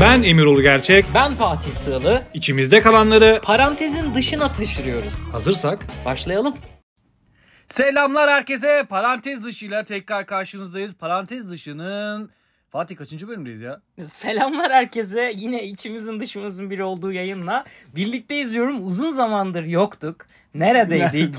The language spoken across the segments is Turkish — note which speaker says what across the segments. Speaker 1: Ben Emirol Gerçek.
Speaker 2: Ben Fatih Tığlı.
Speaker 1: İçimizde kalanları
Speaker 2: Parantezin dışına taşırıyoruz.
Speaker 1: hazırsak
Speaker 2: Başlayalım.
Speaker 3: Selamlar herkese. Parantez dışıyla tekrar karşınızdayız. Parantez dışının Fatih kaçıncı bölümdeyiz ya?
Speaker 2: Selamlar herkese. Yine içimizin dışımızın biri olduğu yayınla birlikte izliyorum. Uzun zamandır yoktuk. Neredeydik?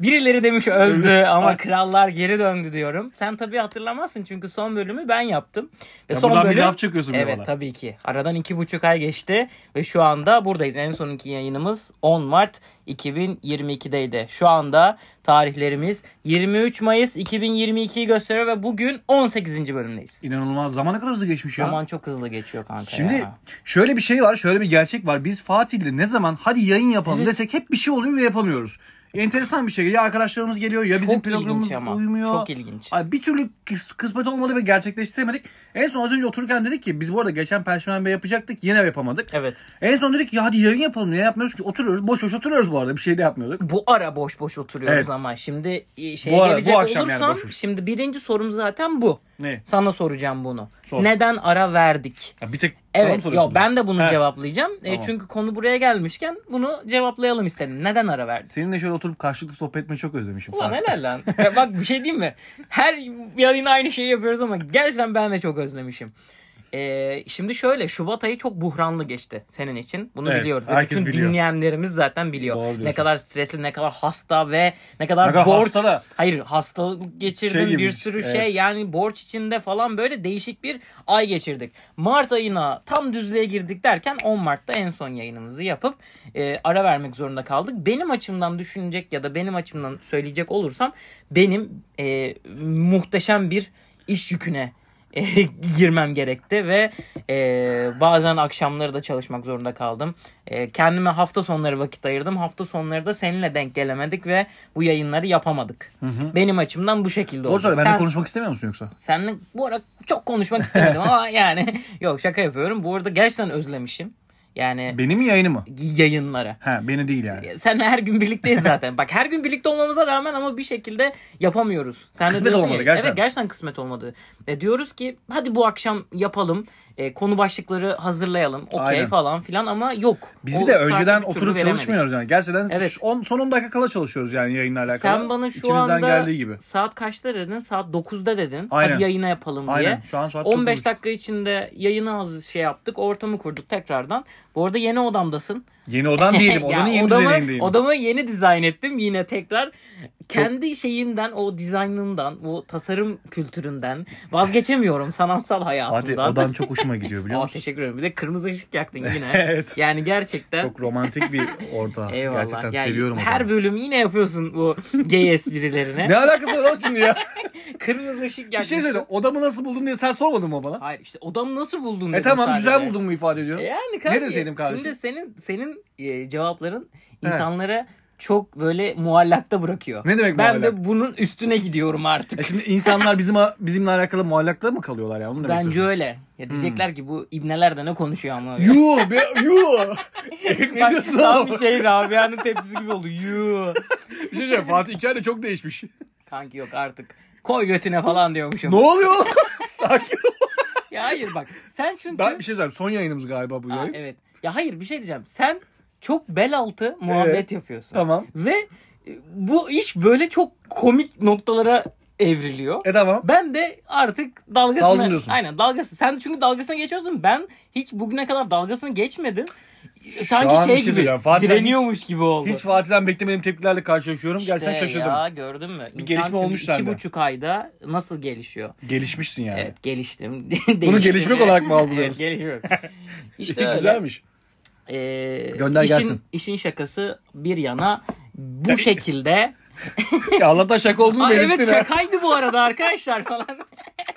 Speaker 2: Birileri demiş öldü ama krallar geri döndü diyorum. Sen tabii hatırlamazsın çünkü son bölümü ben yaptım. Ve
Speaker 3: Ya buradan bir laf çakıyorsun bir de
Speaker 2: Evet
Speaker 3: bana.
Speaker 2: tabii ki. Aradan iki buçuk ay geçti ve şu anda buradayız. En sonki yayınımız 10 Mart 2022'deydi. Şu anda tarihlerimiz 23 Mayıs 2022'yi gösteriyor ve bugün 18. bölümdeyiz.
Speaker 3: İnanılmaz. Zamana kadar hızlı geçmiş ya.
Speaker 2: Zaman çok hızlı geçiyor kanka
Speaker 3: Şimdi
Speaker 2: ya.
Speaker 3: şöyle bir şey var, şöyle bir gerçek var. Biz Fatih'le ne zaman hadi yayın yapalım desek hep bir şey oluyor ve yapamıyoruz. Enteresan bir şey. Ya arkadaşlarımız geliyor ya bizim
Speaker 2: Çok ilginç
Speaker 3: programımız
Speaker 2: ama.
Speaker 3: uymuyor.
Speaker 2: Çok ilginç.
Speaker 3: Ay, bir türlü kıs- kısmet olmadı ve gerçekleştiremedik. En son az önce otururken dedik ki biz bu arada geçen perşembe yapacaktık yine yapamadık.
Speaker 2: Evet.
Speaker 3: En son dedik ki ya hadi yayın yapalım. Ne yapmıyoruz ki? Oturuyoruz. Boş boş oturuyoruz bu arada. Bir şey de yapmıyorduk.
Speaker 2: Bu ara boş boş oturuyoruz
Speaker 3: Evet.
Speaker 2: ama şimdi e, şeye
Speaker 3: Bu ara-
Speaker 2: gelecek
Speaker 3: bu akşam yani
Speaker 2: olursam
Speaker 3: boş boş.
Speaker 2: şimdi birinci sorum zaten bu.
Speaker 3: Ne?
Speaker 2: Sana soracağım bunu.
Speaker 3: Sor.
Speaker 2: Neden ara verdik?
Speaker 3: Ya bir tek bana mı
Speaker 2: Evet,
Speaker 3: soruyorsun
Speaker 2: yok ben de bunu
Speaker 3: He.
Speaker 2: cevaplayacağım. E,
Speaker 3: Tamam.
Speaker 2: çünkü konu buraya gelmişken bunu cevaplayalım istedim. Neden ara verdik?
Speaker 3: Seninle şöyle oturup karşılıklı sohbet etmeyi çok özlemişim.
Speaker 2: Ulan
Speaker 3: Fark.
Speaker 2: helal lan. Ya bak bir şey diyeyim mi? Her yayın aynı şeyi yapıyoruz ama gerçekten ben de çok özlemişim. Ee, şimdi şöyle Şubat ayı çok buhranlı geçti senin için. Bunu
Speaker 3: Evet,
Speaker 2: biliyoruz. Ve
Speaker 3: herkes
Speaker 2: Bütün
Speaker 3: biliyor.
Speaker 2: dinleyenlerimiz zaten
Speaker 3: Doğru
Speaker 2: biliyor.
Speaker 3: diyorsun.
Speaker 2: Ne kadar stresli, ne kadar hasta ve ne kadar,
Speaker 3: Ne kadar
Speaker 2: borç.
Speaker 3: hasta da-
Speaker 2: Hayır hastalık geçirdin
Speaker 3: Şey gibi,
Speaker 2: bir sürü
Speaker 3: evet.
Speaker 2: şey yani borç içinde falan böyle değişik bir ay geçirdik. Mart ayına tam düzlüğe girdik derken 10 Mart'ta en son yayınımızı yapıp e, ara vermek zorunda kaldık. Benim açımdan düşünecek ya da benim açımdan söyleyecek olursam benim e, muhteşem bir iş yüküne e, girmem gerekti ve e, bazen akşamları da çalışmak zorunda kaldım. E, kendime hafta sonları vakit ayırdım. Hafta sonları da seninle denk gelemedik ve bu yayınları yapamadık. Benim açımdan bu şekilde
Speaker 3: Doğru
Speaker 2: oldu.
Speaker 3: söyle. Ben de
Speaker 2: Sen-
Speaker 3: konuşmak istemiyor musun yoksa?
Speaker 2: Seninle bu ara çok konuşmak istemedim ama yani yok şaka yapıyorum. Bu arada gerçekten özlemişim. Yani
Speaker 3: Benim mi yayını mı?
Speaker 2: yayınları.
Speaker 3: Ha beni değil yani.
Speaker 2: Sen her gün birlikteyiz zaten. Bak her gün birlikte olmamıza rağmen ama bir şekilde yapamıyoruz. Sen de
Speaker 3: Kısmet
Speaker 2: diyorsun
Speaker 3: olmadı
Speaker 2: ya,
Speaker 3: gerçekten.
Speaker 2: Evet gerçekten kısmet olmadı. E, diyoruz ki hadi bu akşam yapalım. E, konu başlıkları hazırlayalım. Okey
Speaker 3: Aynen.
Speaker 2: falan filan ama yok.
Speaker 3: Biz
Speaker 2: O
Speaker 3: bir de
Speaker 2: startı
Speaker 3: önceden
Speaker 2: bir türlü
Speaker 3: oturup
Speaker 2: veremedik.
Speaker 3: çalışmıyoruz yani. Gerçekten
Speaker 2: Evet.
Speaker 3: şu- on, son 10 dakika kala çalışıyoruz yani yayınla alakalı.
Speaker 2: Sen bana şu
Speaker 3: İçimizden
Speaker 2: anda
Speaker 3: geldiği gibi.
Speaker 2: saat kaçta dedin? Saat 9'da dedin.
Speaker 3: Aynen.
Speaker 2: Hadi yayına yapalım diye.
Speaker 3: Aynen. Şu an saat
Speaker 2: 15
Speaker 3: 9.30.
Speaker 2: dakika içinde yayını hazır şey yaptık. Ortamı kurduk tekrardan. Bu arada yeni odamdasın.
Speaker 3: Yeni odan değilim.
Speaker 2: Ya
Speaker 3: Odanın yeni
Speaker 2: odamı,
Speaker 3: düzenindeyim.
Speaker 2: odamı yeni dizayn ettim yine tekrar. Kendi şeyimden, o dizaynımdan, o tasarım kültüründen vazgeçemiyorum sanatsal
Speaker 3: Hadi
Speaker 2: hayatımdan.
Speaker 3: odan çok hoşuma gidiyor biliyor
Speaker 2: Aa,
Speaker 3: musun?
Speaker 2: teşekkür ederim. Bir de kırmızı ışık yaktın yine.
Speaker 3: Evet.
Speaker 2: Yani gerçekten.
Speaker 3: Çok romantik bir orta.
Speaker 2: Eyvallah.
Speaker 3: Gerçekten
Speaker 2: Yani
Speaker 3: seviyorum
Speaker 2: Her
Speaker 3: odamı.
Speaker 2: bölüm yine yapıyorsun bu gay esprilerini.
Speaker 3: Ne alakası var olsun ya?
Speaker 2: Kırmızı ışık
Speaker 3: bir
Speaker 2: yakmışsın.
Speaker 3: şey söyle. Odamı nasıl buldun diye sen sormadın mı bana?
Speaker 2: Hayır işte odamı nasıl buldun
Speaker 3: E
Speaker 2: dedim
Speaker 3: tamam
Speaker 2: sadece.
Speaker 3: güzel buldum mu ifade ediyor.
Speaker 2: E Yani kanka,
Speaker 3: deseydim kardeşim?
Speaker 2: Şimdi senin senin e, cevapların insanlara çok böyle muallakta bırakıyor.
Speaker 3: Ne demek
Speaker 2: Ben
Speaker 3: muallak?
Speaker 2: de bunun üstüne gidiyorum artık.
Speaker 3: E şimdi insanlar bizim bizimle alakalı muallakta mı kalıyorlar ya? Onu demek
Speaker 2: Bence
Speaker 3: istiyorsun.
Speaker 2: öyle. Ya diyecekler ki bu ibneler de ne konuşuyor ama.
Speaker 3: Hmm. Yuh be yuh. ne
Speaker 2: Bak,
Speaker 3: diyorsun
Speaker 2: Tam
Speaker 3: abi?
Speaker 2: bir şey Rabia'nın tepkisi gibi oldu. Yuu.
Speaker 3: Bir şey söyleyeyim, Fatih iki ayda çok değişmiş.
Speaker 2: Kanki yok artık. Koy götüne falan diyormuşum.
Speaker 3: ne oluyor oğlum? Sakin ol.
Speaker 2: Ya hayır bak. Sen çünkü...
Speaker 3: Ben bir şey söyleyeyim. Son yayınımız galiba bu
Speaker 2: Aa,
Speaker 3: yayın.
Speaker 2: evet. Ya hayır bir şey diyeceğim. Sen çok bel altı muhabbet
Speaker 3: Evet.
Speaker 2: yapıyorsun.
Speaker 3: Tamam.
Speaker 2: Ve e, bu iş böyle çok komik noktalara evriliyor.
Speaker 3: E tamam.
Speaker 2: Ben de artık dalgasına...
Speaker 3: Saldım diyorsun.
Speaker 2: Aynen dalgası. Sen çünkü dalgasına geçiyorsun. Ben hiç bugüne kadar dalgasını geçmedim.
Speaker 3: an
Speaker 2: Sanki
Speaker 3: bir
Speaker 2: şey
Speaker 3: şey
Speaker 2: gibi
Speaker 3: söyleyeceğim. Fatih'ten
Speaker 2: direniyormuş gibi oldu.
Speaker 3: Hiç Fatih'ten beklemediğim tepkilerle karşılaşıyorum.
Speaker 2: İşte
Speaker 3: Gerçekten şaşırdım.
Speaker 2: Ya gördün mü? Bir
Speaker 3: gelişme olmuş
Speaker 2: İki
Speaker 3: sende.
Speaker 2: buçuk ayda nasıl gelişiyor?
Speaker 3: Gelişmişsin yani.
Speaker 2: Evet geliştim. Değiştim.
Speaker 3: gelişmek olarak mı algılıyoruz?
Speaker 2: Evet gelişiyorum. İşte öyle.
Speaker 3: Güzelmiş.
Speaker 2: Ee,
Speaker 3: Gönder
Speaker 2: işin,
Speaker 3: gelsin.
Speaker 2: İşin şakası bir yana bu şekilde.
Speaker 3: Ya Allah'tan şaka olduğunu
Speaker 2: Aa, evet
Speaker 3: belirttin ha.
Speaker 2: şakaydı bu arada arkadaşlar falan.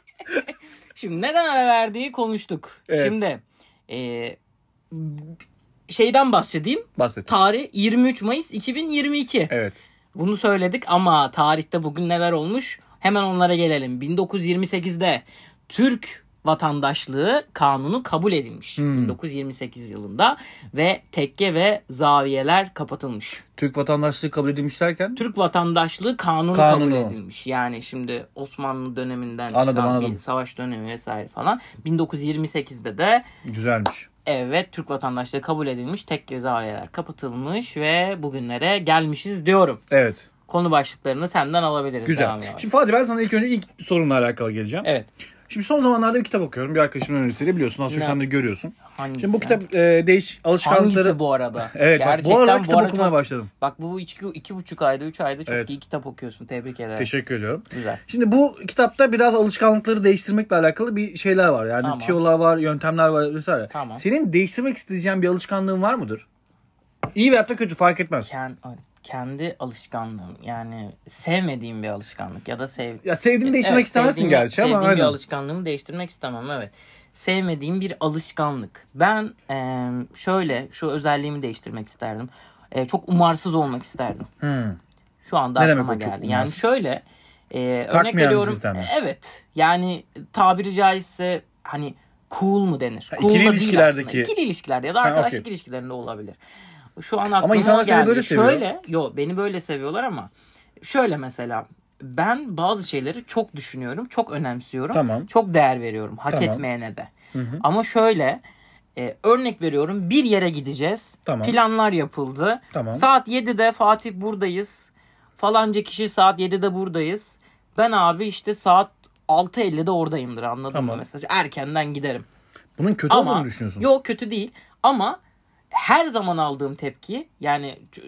Speaker 2: Şimdi neden ara verdiği konuştuk.
Speaker 3: Evet.
Speaker 2: Şimdi ee, şeyden bahsedeyim.
Speaker 3: Bahset.
Speaker 2: Tarih 23 Mayıs 2022.
Speaker 3: Evet.
Speaker 2: Bunu söyledik ama tarihte bugün neler olmuş? Hemen onlara gelelim. 1928'de Türk vatandaşlığı kanunu kabul edilmiş
Speaker 3: Hmm.
Speaker 2: 1928 yılında ve tekke ve zaviyeler kapatılmış.
Speaker 3: Türk vatandaşlığı kabul edilmiş derken
Speaker 2: Türk vatandaşlığı kanunu,
Speaker 3: Kanunu.
Speaker 2: kabul edilmiş. Yani şimdi Osmanlı döneminden
Speaker 3: Anladım,
Speaker 2: çıkan
Speaker 3: anladım.
Speaker 2: bir savaş dönemi vesaire falan. 1928'de de
Speaker 3: güzelmiş.
Speaker 2: evet Türk vatandaşlığı kabul edilmiş. Tekke zaviyeler kapatılmış ve bugünlere gelmişiz diyorum.
Speaker 3: Evet.
Speaker 2: Konu başlıklarını senden alabiliriz. Devam
Speaker 3: Güzel.
Speaker 2: yavaş.
Speaker 3: Şimdi Fatih ben sana ilk önce ilk sorumla alakalı geleceğim.
Speaker 2: evet.
Speaker 3: Şimdi son zamanlarda bir kitap okuyorum. Bir arkadaşımın önerisiyle biliyorsun. Az çok
Speaker 2: Ne?
Speaker 3: sen de görüyorsun.
Speaker 2: Hangisi?
Speaker 3: Şimdi bu kitap e, değişik alışkanlıkları...
Speaker 2: Hangisi bu arada?
Speaker 3: Evet bak, bu arada kitap okumaya
Speaker 2: çok-
Speaker 3: başladım.
Speaker 2: Bak bu iki, iki buçuk ayda, üç ayda çok
Speaker 3: Evet.
Speaker 2: iyi kitap okuyorsun. Tebrik ederim.
Speaker 3: Teşekkür ediyorum.
Speaker 2: Güzel.
Speaker 3: Şimdi bu kitapta biraz alışkanlıkları değiştirmekle alakalı bir şeyler var. Yani
Speaker 2: Tamam.
Speaker 3: tiyolar var, yöntemler var vesaire.
Speaker 2: Tamam.
Speaker 3: Senin değiştirmek isteyeceğin bir alışkanlığın var mıdır? İyi veyahut da kötü fark etmez.
Speaker 2: Ken- kendi alışkanlığım yani sevmediğim bir alışkanlık ya da sev
Speaker 3: Ya sevdiğini değiştirmek
Speaker 2: Evet,
Speaker 3: istemezsin
Speaker 2: sevdiğim-
Speaker 3: gerçi ama
Speaker 2: sevdiğim bir
Speaker 3: aynen.
Speaker 2: alışkanlığımı değiştirmek istemem evet. Sevmediğim bir alışkanlık. Ben e, şöyle şu özelliğimi değiştirmek isterdim. E, çok umarsız olmak isterdim.
Speaker 3: Hmm.
Speaker 2: Şu anda
Speaker 3: Ne demek
Speaker 2: aklıma
Speaker 3: o çok
Speaker 2: geldi. Yani
Speaker 3: umarsız?
Speaker 2: şöyle e, örnek
Speaker 3: Takmayan bir
Speaker 2: veriyorum.
Speaker 3: sistem mi?
Speaker 2: Evet. Yani tabiri caizse hani cool mu denir?
Speaker 3: Ha,
Speaker 2: Cool
Speaker 3: ikili
Speaker 2: da değil
Speaker 3: ilişkilerdeki-
Speaker 2: aslında. İkili ilişkilerde ya da
Speaker 3: Ha,
Speaker 2: arkadaşlık
Speaker 3: okey.
Speaker 2: ilişkilerinde olabilir. Şu an aklıma Ama
Speaker 3: insanlar seni böyle seviyor.
Speaker 2: Şöyle, yo beni böyle seviyorlar ama şöyle mesela ben bazı şeyleri çok düşünüyorum, çok önemsiyorum,
Speaker 3: Tamam.
Speaker 2: çok değer veriyorum hak
Speaker 3: Tamam.
Speaker 2: etmeyene de. Ama şöyle e, örnek veriyorum bir yere gideceğiz.
Speaker 3: Tamam.
Speaker 2: Planlar yapıldı.
Speaker 3: Tamam.
Speaker 2: Saat 7'de Fatih buradayız. Falanca kişi saat 7'de buradayız. Ben abi işte saat 6.50'de oradayımdır anladın mı
Speaker 3: Tamam.
Speaker 2: mesela? Erkenden giderim.
Speaker 3: Bunun kötü olduğunu mu düşünüyorsun?
Speaker 2: Yok kötü değil ama her zaman aldığım tepki yani ç-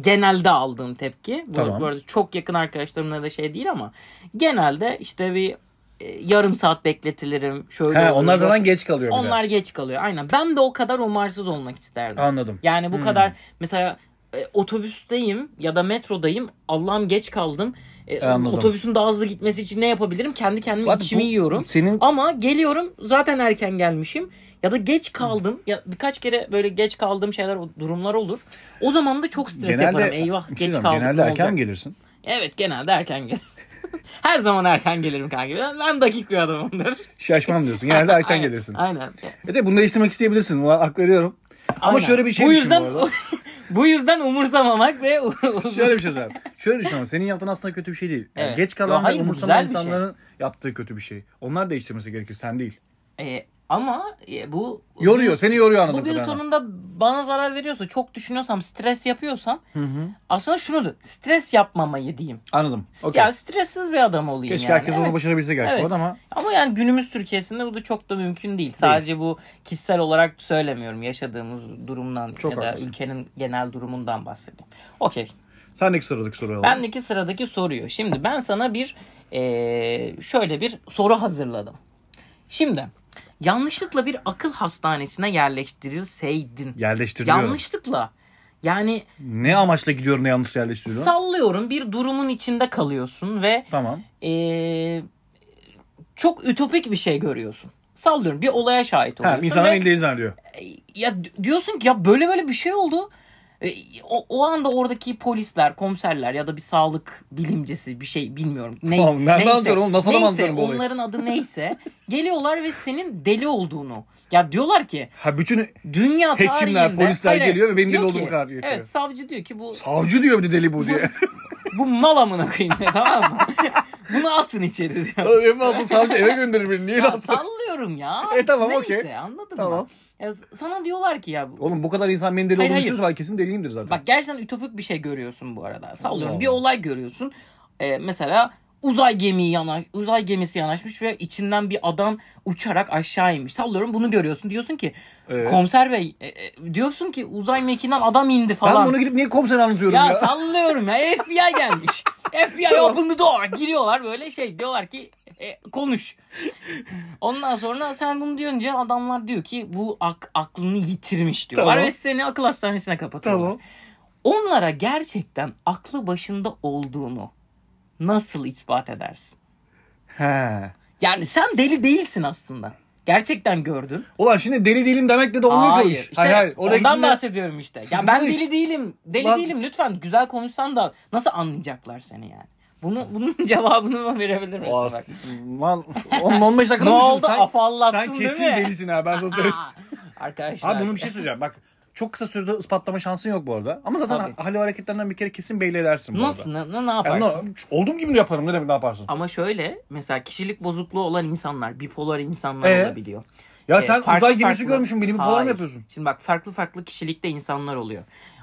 Speaker 2: genelde aldığım tepki bu,
Speaker 3: Tamam.
Speaker 2: bu arada çok yakın arkadaşlarımla da şey değil ama genelde işte bir e, yarım saat bekletilirim şöyle
Speaker 3: He,
Speaker 2: olur,
Speaker 3: onlar
Speaker 2: böyle-
Speaker 3: zaten geç kalıyor bir de.
Speaker 2: onlar geç kalıyor aynen ben de o kadar umarsız olmak isterdim.
Speaker 3: Anladım.
Speaker 2: Yani bu kadar mesela e, otobüsteyim ya da metrodayım. Allah'ım geç kaldım. E,
Speaker 3: Anladım.
Speaker 2: otobüsün daha hızlı gitmesi için ne yapabilirim? Kendi kendime
Speaker 3: Bak,
Speaker 2: içimi
Speaker 3: bu
Speaker 2: yiyorum.
Speaker 3: senin-
Speaker 2: Ama geliyorum zaten erken gelmişim. Ya da
Speaker 3: Hmm.
Speaker 2: geç kaldım. Ya birkaç kere böyle geç kaldığım şeyler durumlar olur. O zaman da çok stres yaparım. Eyvah
Speaker 3: Bir şey
Speaker 2: geç
Speaker 3: diyeceğim,
Speaker 2: kaldım.
Speaker 3: Genelde
Speaker 2: ne
Speaker 3: erken mi
Speaker 2: olacak?
Speaker 3: gelirsin?
Speaker 2: Evet genelde erken gelirim. Her zaman erken gelirim kanka. Ben, ben dakik bir adamımdır.
Speaker 3: Şaşmam diyorsun. Genelde erken
Speaker 2: Aynen,
Speaker 3: gelirsin.
Speaker 2: Aynen.
Speaker 3: E de bunu değiştirmek isteyebilirsin. Buna hak veriyorum. Ama
Speaker 2: Aynen.
Speaker 3: şöyle bir şey
Speaker 2: bu
Speaker 3: düşün
Speaker 2: yüzden
Speaker 3: bu arada.
Speaker 2: bu yüzden umursamamak ve
Speaker 3: Şöyle bir şey söyleyeyim. Şöyle düşün ama senin yaptığın aslında kötü bir şey değil. Yani
Speaker 2: Evet.
Speaker 3: Geç
Speaker 2: Yo,
Speaker 3: kalan ve
Speaker 2: hayır, bu
Speaker 3: umursamayan
Speaker 2: güzel bir şey.
Speaker 3: insanların yaptığı kötü bir şey. Onlar değiştirmesi gerekir. Sen değil.
Speaker 2: E, ama e, bu
Speaker 3: Yoruyor. Seni yoruyor anladığım
Speaker 2: Bugün
Speaker 3: kadarıyla.
Speaker 2: sonunda bana zarar veriyorsa, çok düşünüyorsam, stres yapıyorsam aslında şunu stres yapmamayı diyeyim.
Speaker 3: Anladım.
Speaker 2: S-
Speaker 3: Okey.
Speaker 2: Yani stressiz bir adam olayım
Speaker 3: Keşke
Speaker 2: yani.
Speaker 3: herkes
Speaker 2: Evet.
Speaker 3: onu başarabilse gerçi bu
Speaker 2: Evet.
Speaker 3: arada ama
Speaker 2: Ama yani günümüz Türkiye'sinde bu da çok da mümkün değil. Sadece bu kişisel olarak söylemiyorum yaşadığımız durumdan
Speaker 3: Çok
Speaker 2: ya da
Speaker 3: haklısın.
Speaker 2: ülkenin genel durumundan bahsediyorum. Okey.
Speaker 3: sendeki sıradaki soruyu alalım.
Speaker 2: Bendeki sıradaki soruyu. Şimdi ben sana bir eee, şöyle bir soru hazırladım. Şimdi yanlışlıkla bir akıl hastanesine yerleştirilseydin.
Speaker 3: Yerleştiriliyor.
Speaker 2: yanlışlıkla yani
Speaker 3: Ne amaçla gidiyorum ne yanlış yerleştiriyorum?
Speaker 2: sallıyorum bir durumun içinde kalıyorsun ve
Speaker 3: tamam.
Speaker 2: eee, çok ütopik bir şey görüyorsun. Sallıyorum bir olaya şahit
Speaker 3: Ha,
Speaker 2: oluyorsun.
Speaker 3: insanlar
Speaker 2: ve-
Speaker 3: elleri zannediyor.
Speaker 2: ya d- diyorsun ki ya böyle böyle bir şey oldu. E, O, o anda oradaki polisler, komiserler ya da bir sağlık bilimcisi bir şey bilmiyorum. Ney-
Speaker 3: Oğlum nereden anlıyorsun oğlum? NASA'dan mı
Speaker 2: neyse
Speaker 3: anlıyorsun bu olayı?
Speaker 2: onların adı neyse geliyorlar ve senin deli olduğunu. Ya diyorlar ki
Speaker 3: Ha bütün
Speaker 2: dünya
Speaker 3: Hekimler,
Speaker 2: tarihinde
Speaker 3: polisler
Speaker 2: Hayır, hayır.
Speaker 3: geliyor ve benim
Speaker 2: Diyor
Speaker 3: deli olduğumu
Speaker 2: ki-
Speaker 3: karar getiriyor.
Speaker 2: Evet savcı diyor ki bu
Speaker 3: savcı diyor bir de deli bu diye.
Speaker 2: bu mal amına koyayım diyor, tamam mı? Bunu atın içeri diyor.
Speaker 3: en fazla savcı eve gönderir beni. Niye
Speaker 2: Ya
Speaker 3: lan?
Speaker 2: sallıyorum ya.
Speaker 3: E, tamam,
Speaker 2: Neyse,
Speaker 3: okey.
Speaker 2: anladın mı?
Speaker 3: Tamam.
Speaker 2: Ya, sana diyorlar ki ya bu-
Speaker 3: Oğlum bu kadar insan beni deli
Speaker 2: Hayır,
Speaker 3: olduğunu
Speaker 2: hayır.
Speaker 3: düşünüyorsa ben kesin deliyimdir zaten.
Speaker 2: Bak gerçekten ütopik bir şey görüyorsun bu arada. Sallıyorum
Speaker 3: Allah
Speaker 2: bir
Speaker 3: Allah.
Speaker 2: olay görüyorsun. Ee, mesela uzay gemiyi yana uzay gemisi yanaşmış ve içinden bir adam uçarak aşağı inmiş. Sallıyorum bunu görüyorsun. Diyorsun ki
Speaker 3: Evet.
Speaker 2: komiser bey e, e, diyorsun ki uzay mekiğinden adam indi
Speaker 3: ben
Speaker 2: falan.
Speaker 3: bunu gidip niye komisere anlatıyorum
Speaker 2: ya,
Speaker 3: ya?
Speaker 2: sallıyorum ya FBI gelmiş. FBI open the door. Giriyorlar böyle şey diyorlar ki e, konuş. Ondan sonra sen bunu diyince adamlar diyor ki bu ak- aklını yitirmiş diyorlar
Speaker 3: Tamam.
Speaker 2: ve seni akıl hastanesine kapatıyorlar
Speaker 3: Tamam.
Speaker 2: onlara gerçekten aklı başında olduğunu nasıl ispat edersin?
Speaker 3: He.
Speaker 2: Yani sen deli değilsin aslında. Gerçekten gördün.
Speaker 3: Ulan şimdi deli değilim demekle de olmuyor ki o
Speaker 2: Hayır.
Speaker 3: iş.
Speaker 2: İşte
Speaker 3: hayır, hayır. Oraya
Speaker 2: ondan
Speaker 3: gidince-
Speaker 2: bahsediyorum işte. Ya
Speaker 3: Sıkıntılı
Speaker 2: ben
Speaker 3: iş.
Speaker 2: deli değilim. Deli
Speaker 3: Lan-
Speaker 2: değilim lütfen güzel konuşsan da nasıl anlayacaklar seni yani? Bunu, bunun cevabını bana verebilir misin?
Speaker 3: Aa,
Speaker 2: bak?
Speaker 3: Man, 15 dakikada
Speaker 2: Ne
Speaker 3: düşündün.
Speaker 2: oldu?
Speaker 3: Sen-
Speaker 2: Afallattın
Speaker 3: Sen kesin
Speaker 2: değil mi?
Speaker 3: delisin ha ben sana söyleyeyim.
Speaker 2: Aa, Arkadaşlar.
Speaker 3: Abi bunun bir şey söyleyeceğim. Bak çok kısa sürede ispatlama şansın yok bu arada. Ama zaten
Speaker 2: Tabii.
Speaker 3: ha- hal ve hareketlerinden bir kere kesin belli edersin bu
Speaker 2: Nasıl?
Speaker 3: arada.
Speaker 2: Ne, ne, ne
Speaker 3: Yani
Speaker 2: yaparsın?
Speaker 3: ne- olduğum gibi yaparım. Ne demek ne yaparsın?
Speaker 2: Ama şöyle mesela kişilik bozukluğu olan insanlar bipolar insanlar
Speaker 3: Ee?
Speaker 2: olabiliyor.
Speaker 3: Ya
Speaker 2: Ee,
Speaker 3: sen
Speaker 2: farklı
Speaker 3: uzay gemisi
Speaker 2: farklı-
Speaker 3: görmüşsün. Benim polar
Speaker 2: Hayır.
Speaker 3: mı yapıyorsun?
Speaker 2: Şimdi bak farklı farklı kişilikte insanlar oluyor.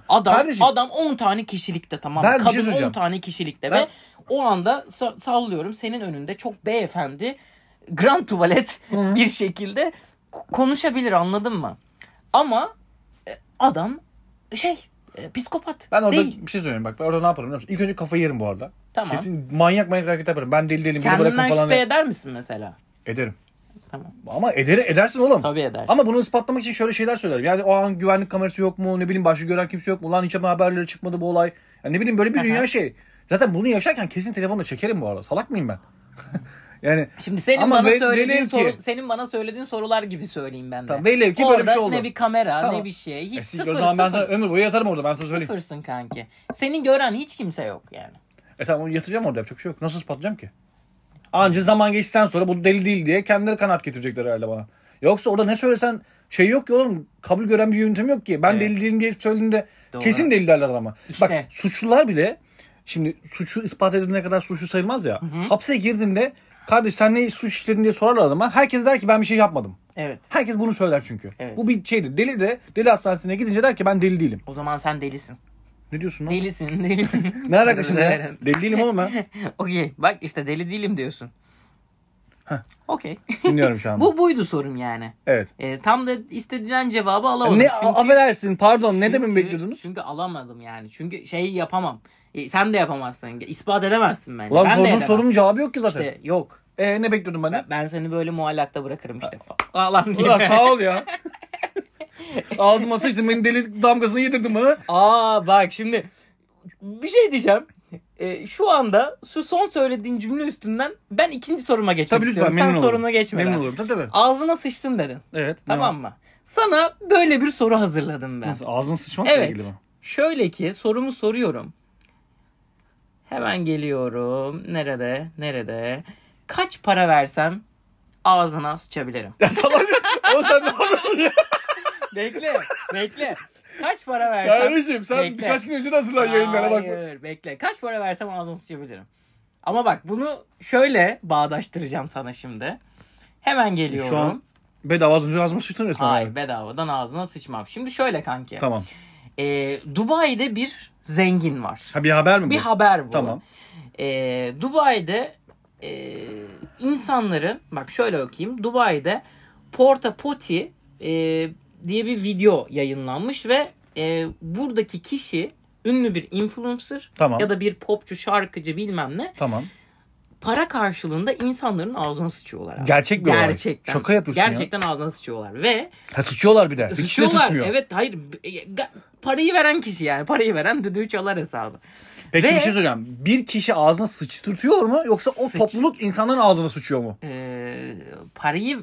Speaker 2: Adam
Speaker 3: Kardeşim-
Speaker 2: adam 10 tane kişilikte tamam mı?
Speaker 3: Ben bir şey
Speaker 2: Kadın 10
Speaker 3: söyleyeceğim.
Speaker 2: tane kişilikte ve
Speaker 3: Ben-
Speaker 2: o anda sa- sallıyorum senin önünde çok beyefendi grand tuvalet bir şekilde k- konuşabilir anladın mı? Ama e, adam şey e, psikopat.
Speaker 3: Ben orada
Speaker 2: değil.
Speaker 3: bir şey söyleyeyim bak. Ben orada ne yaparım biliyor musun? İlk önce kafayı yerim bu arada.
Speaker 2: Tamam.
Speaker 3: Kesin manyak manyak hareket yaparım. Ben deli değilim. Beni bırakın
Speaker 2: kendinden
Speaker 3: falan.
Speaker 2: şüphe eder misin mesela?
Speaker 3: Ederim.
Speaker 2: Tamam.
Speaker 3: Ama eder, edersin oğlum.
Speaker 2: Tabii edersin.
Speaker 3: Ama bunu ispatlamak için şöyle şeyler söylerim. Yani o an güvenlik kamerası yok mu? Ne bileyim başı gören kimse yok mu? Ulan hiç ama haberleri çıkmadı bu olay. Yani ne bileyim böyle bir dünya şey. Zaten bunu yaşarken kesin telefonla çekerim bu arada. Salak mıyım ben? yani
Speaker 2: Şimdi senin
Speaker 3: Ama
Speaker 2: bana
Speaker 3: ve-
Speaker 2: söylediğin
Speaker 3: velev ki-
Speaker 2: soru- senin bana söylediğin sorular gibi söyleyeyim ben de.
Speaker 3: Tamam, velev ki böyle bir
Speaker 2: Orada
Speaker 3: şey oldu.
Speaker 2: Ne bir kamera,
Speaker 3: Tamam.
Speaker 2: ne bir şey. Hiç
Speaker 3: e,
Speaker 2: sıfır,
Speaker 3: o zaman ben sana
Speaker 2: sıfır.
Speaker 3: ömür boyu yatarım orada ben sana söyleyeyim.
Speaker 2: Sıfırsın kanki. Senin gören hiç kimse yok yani.
Speaker 3: E tamam yatacağım orada yapacak bir şey yok. Nasıl ispatlayacağım ki? Anca zaman geçtikten sonra bu deli değil diye kendileri kanat getirecekler herhalde bana. Yoksa orada ne söylesen şey yok ki oğlum kabul gören bir yöntem yok ki. Ben
Speaker 2: Evet.
Speaker 3: deli değilim diye söylediğinde
Speaker 2: Doğru.
Speaker 3: kesin deli derler ama.
Speaker 2: İşte.
Speaker 3: Bak suçlular bile şimdi suçu ispat edilene kadar suçlu sayılmaz ya. Hapse girdiğinde kardeş sen ne suç işledin diye sorarlar adama. Herkes der ki ben bir şey yapmadım.
Speaker 2: Evet.
Speaker 3: Herkes bunu söyler çünkü.
Speaker 2: Evet.
Speaker 3: Bu bir şeydir. Deli de deli hastanesine gidince der ki ben deli değilim.
Speaker 2: O zaman sen delisin.
Speaker 3: Ne diyorsun lan?
Speaker 2: Delisin, delisin.
Speaker 3: Ne alaka şimdi? ya? deli değilim oğlum ben.
Speaker 2: Okey. Bak işte deli değilim diyorsun. Okey.
Speaker 3: Dinliyorum şu an.
Speaker 2: Bu buydu sorum yani.
Speaker 3: Evet.
Speaker 2: E, tam da istedilen cevabı alamadım.
Speaker 3: E, Ne
Speaker 2: çünkü-
Speaker 3: affedersin pardon ne demin
Speaker 2: çünkü-
Speaker 3: bekliyordunuz?
Speaker 2: Çünkü alamadım yani. Çünkü şey yapamam. E, sen de yapamazsın. İspat edemezsin bence.
Speaker 3: Lan
Speaker 2: ben de
Speaker 3: sorduğun
Speaker 2: edemem.
Speaker 3: sorunun cevabı yok ki zaten.
Speaker 2: İşte yok.
Speaker 3: E ne bekliyordun bana?
Speaker 2: Ben, ben seni böyle muallakta bırakırım işte falan
Speaker 3: Ulan
Speaker 2: diye.
Speaker 3: sağ ol ya. Ağzıma sıçtın beni deli damgasını yedirdin bana.
Speaker 2: Aa bak şimdi bir şey diyeceğim. Ee, şu anda şu son söylediğin cümle üstünden ben ikinci soruma geçmek
Speaker 3: Tabii lütfen
Speaker 2: istiyorum.
Speaker 3: memnun
Speaker 2: Sen
Speaker 3: olurum.
Speaker 2: soruna geçmeden.
Speaker 3: Memnun olurum tabii tabii.
Speaker 2: Ağzıma sıçtın dedin.
Speaker 3: Evet.
Speaker 2: Tamam mı? Sana böyle bir soru hazırladım ben.
Speaker 3: Nasıl ağzına sıçmakla
Speaker 2: Evet.
Speaker 3: ilgili mi?
Speaker 2: Şöyle ki sorumu soruyorum. Hemen geliyorum. Nerede? Nerede? Kaç para versem ağzına sıçabilirim?
Speaker 3: Ya salak. Oğlum sen ne yapıyorsun ya?
Speaker 2: bekle, bekle. Kaç para versem?
Speaker 3: Kardeşim sen
Speaker 2: Bekle.
Speaker 3: birkaç gün önce hazırlan yayınlara bak.
Speaker 2: Hayır bekle. Kaç para versem ağzını sıçabilirim. Ama bak bunu şöyle bağdaştıracağım sana şimdi. Hemen geliyorum.
Speaker 3: Şu an bedava ağzına ağzıma sıçtın resmen.
Speaker 2: Hayır
Speaker 3: abi.
Speaker 2: bedavadan ağzına sıçmam. Şimdi şöyle kanki.
Speaker 3: Tamam.
Speaker 2: Ee, Dubai'de bir zengin var.
Speaker 3: Ha bir haber mi bu?
Speaker 2: Bir haber bu.
Speaker 3: Tamam.
Speaker 2: Ee, Dubai'de e, insanların bak şöyle okuyayım. Dubai'de Porta Poti e, diye bir video yayınlanmış ve e, buradaki kişi ünlü bir influencer
Speaker 3: Tamam.
Speaker 2: ya da bir popçu, şarkıcı bilmem ne.
Speaker 3: Tamam.
Speaker 2: Para karşılığında insanların ağzına sıçıyorlar. abi.
Speaker 3: Gerçek bir olay.
Speaker 2: Gerçekten.
Speaker 3: Şaka yapıyorsun ya.
Speaker 2: Gerçekten ağzına sıçıyorlar ve
Speaker 3: Ha sıçıyorlar bir de. İkisi de
Speaker 2: sıçıyorlar.
Speaker 3: sıçmıyor.
Speaker 2: Evet hayır e, ga- parayı veren kişi yani parayı veren düdüğü çalar hesabı.
Speaker 3: Peki
Speaker 2: Ve-
Speaker 3: bir şey soracağım. Bir kişi ağzına sıçtırtıyor mu yoksa o
Speaker 2: Sıç-
Speaker 3: topluluk insanların ağzına sıçıyor mu?
Speaker 2: Ee, parayı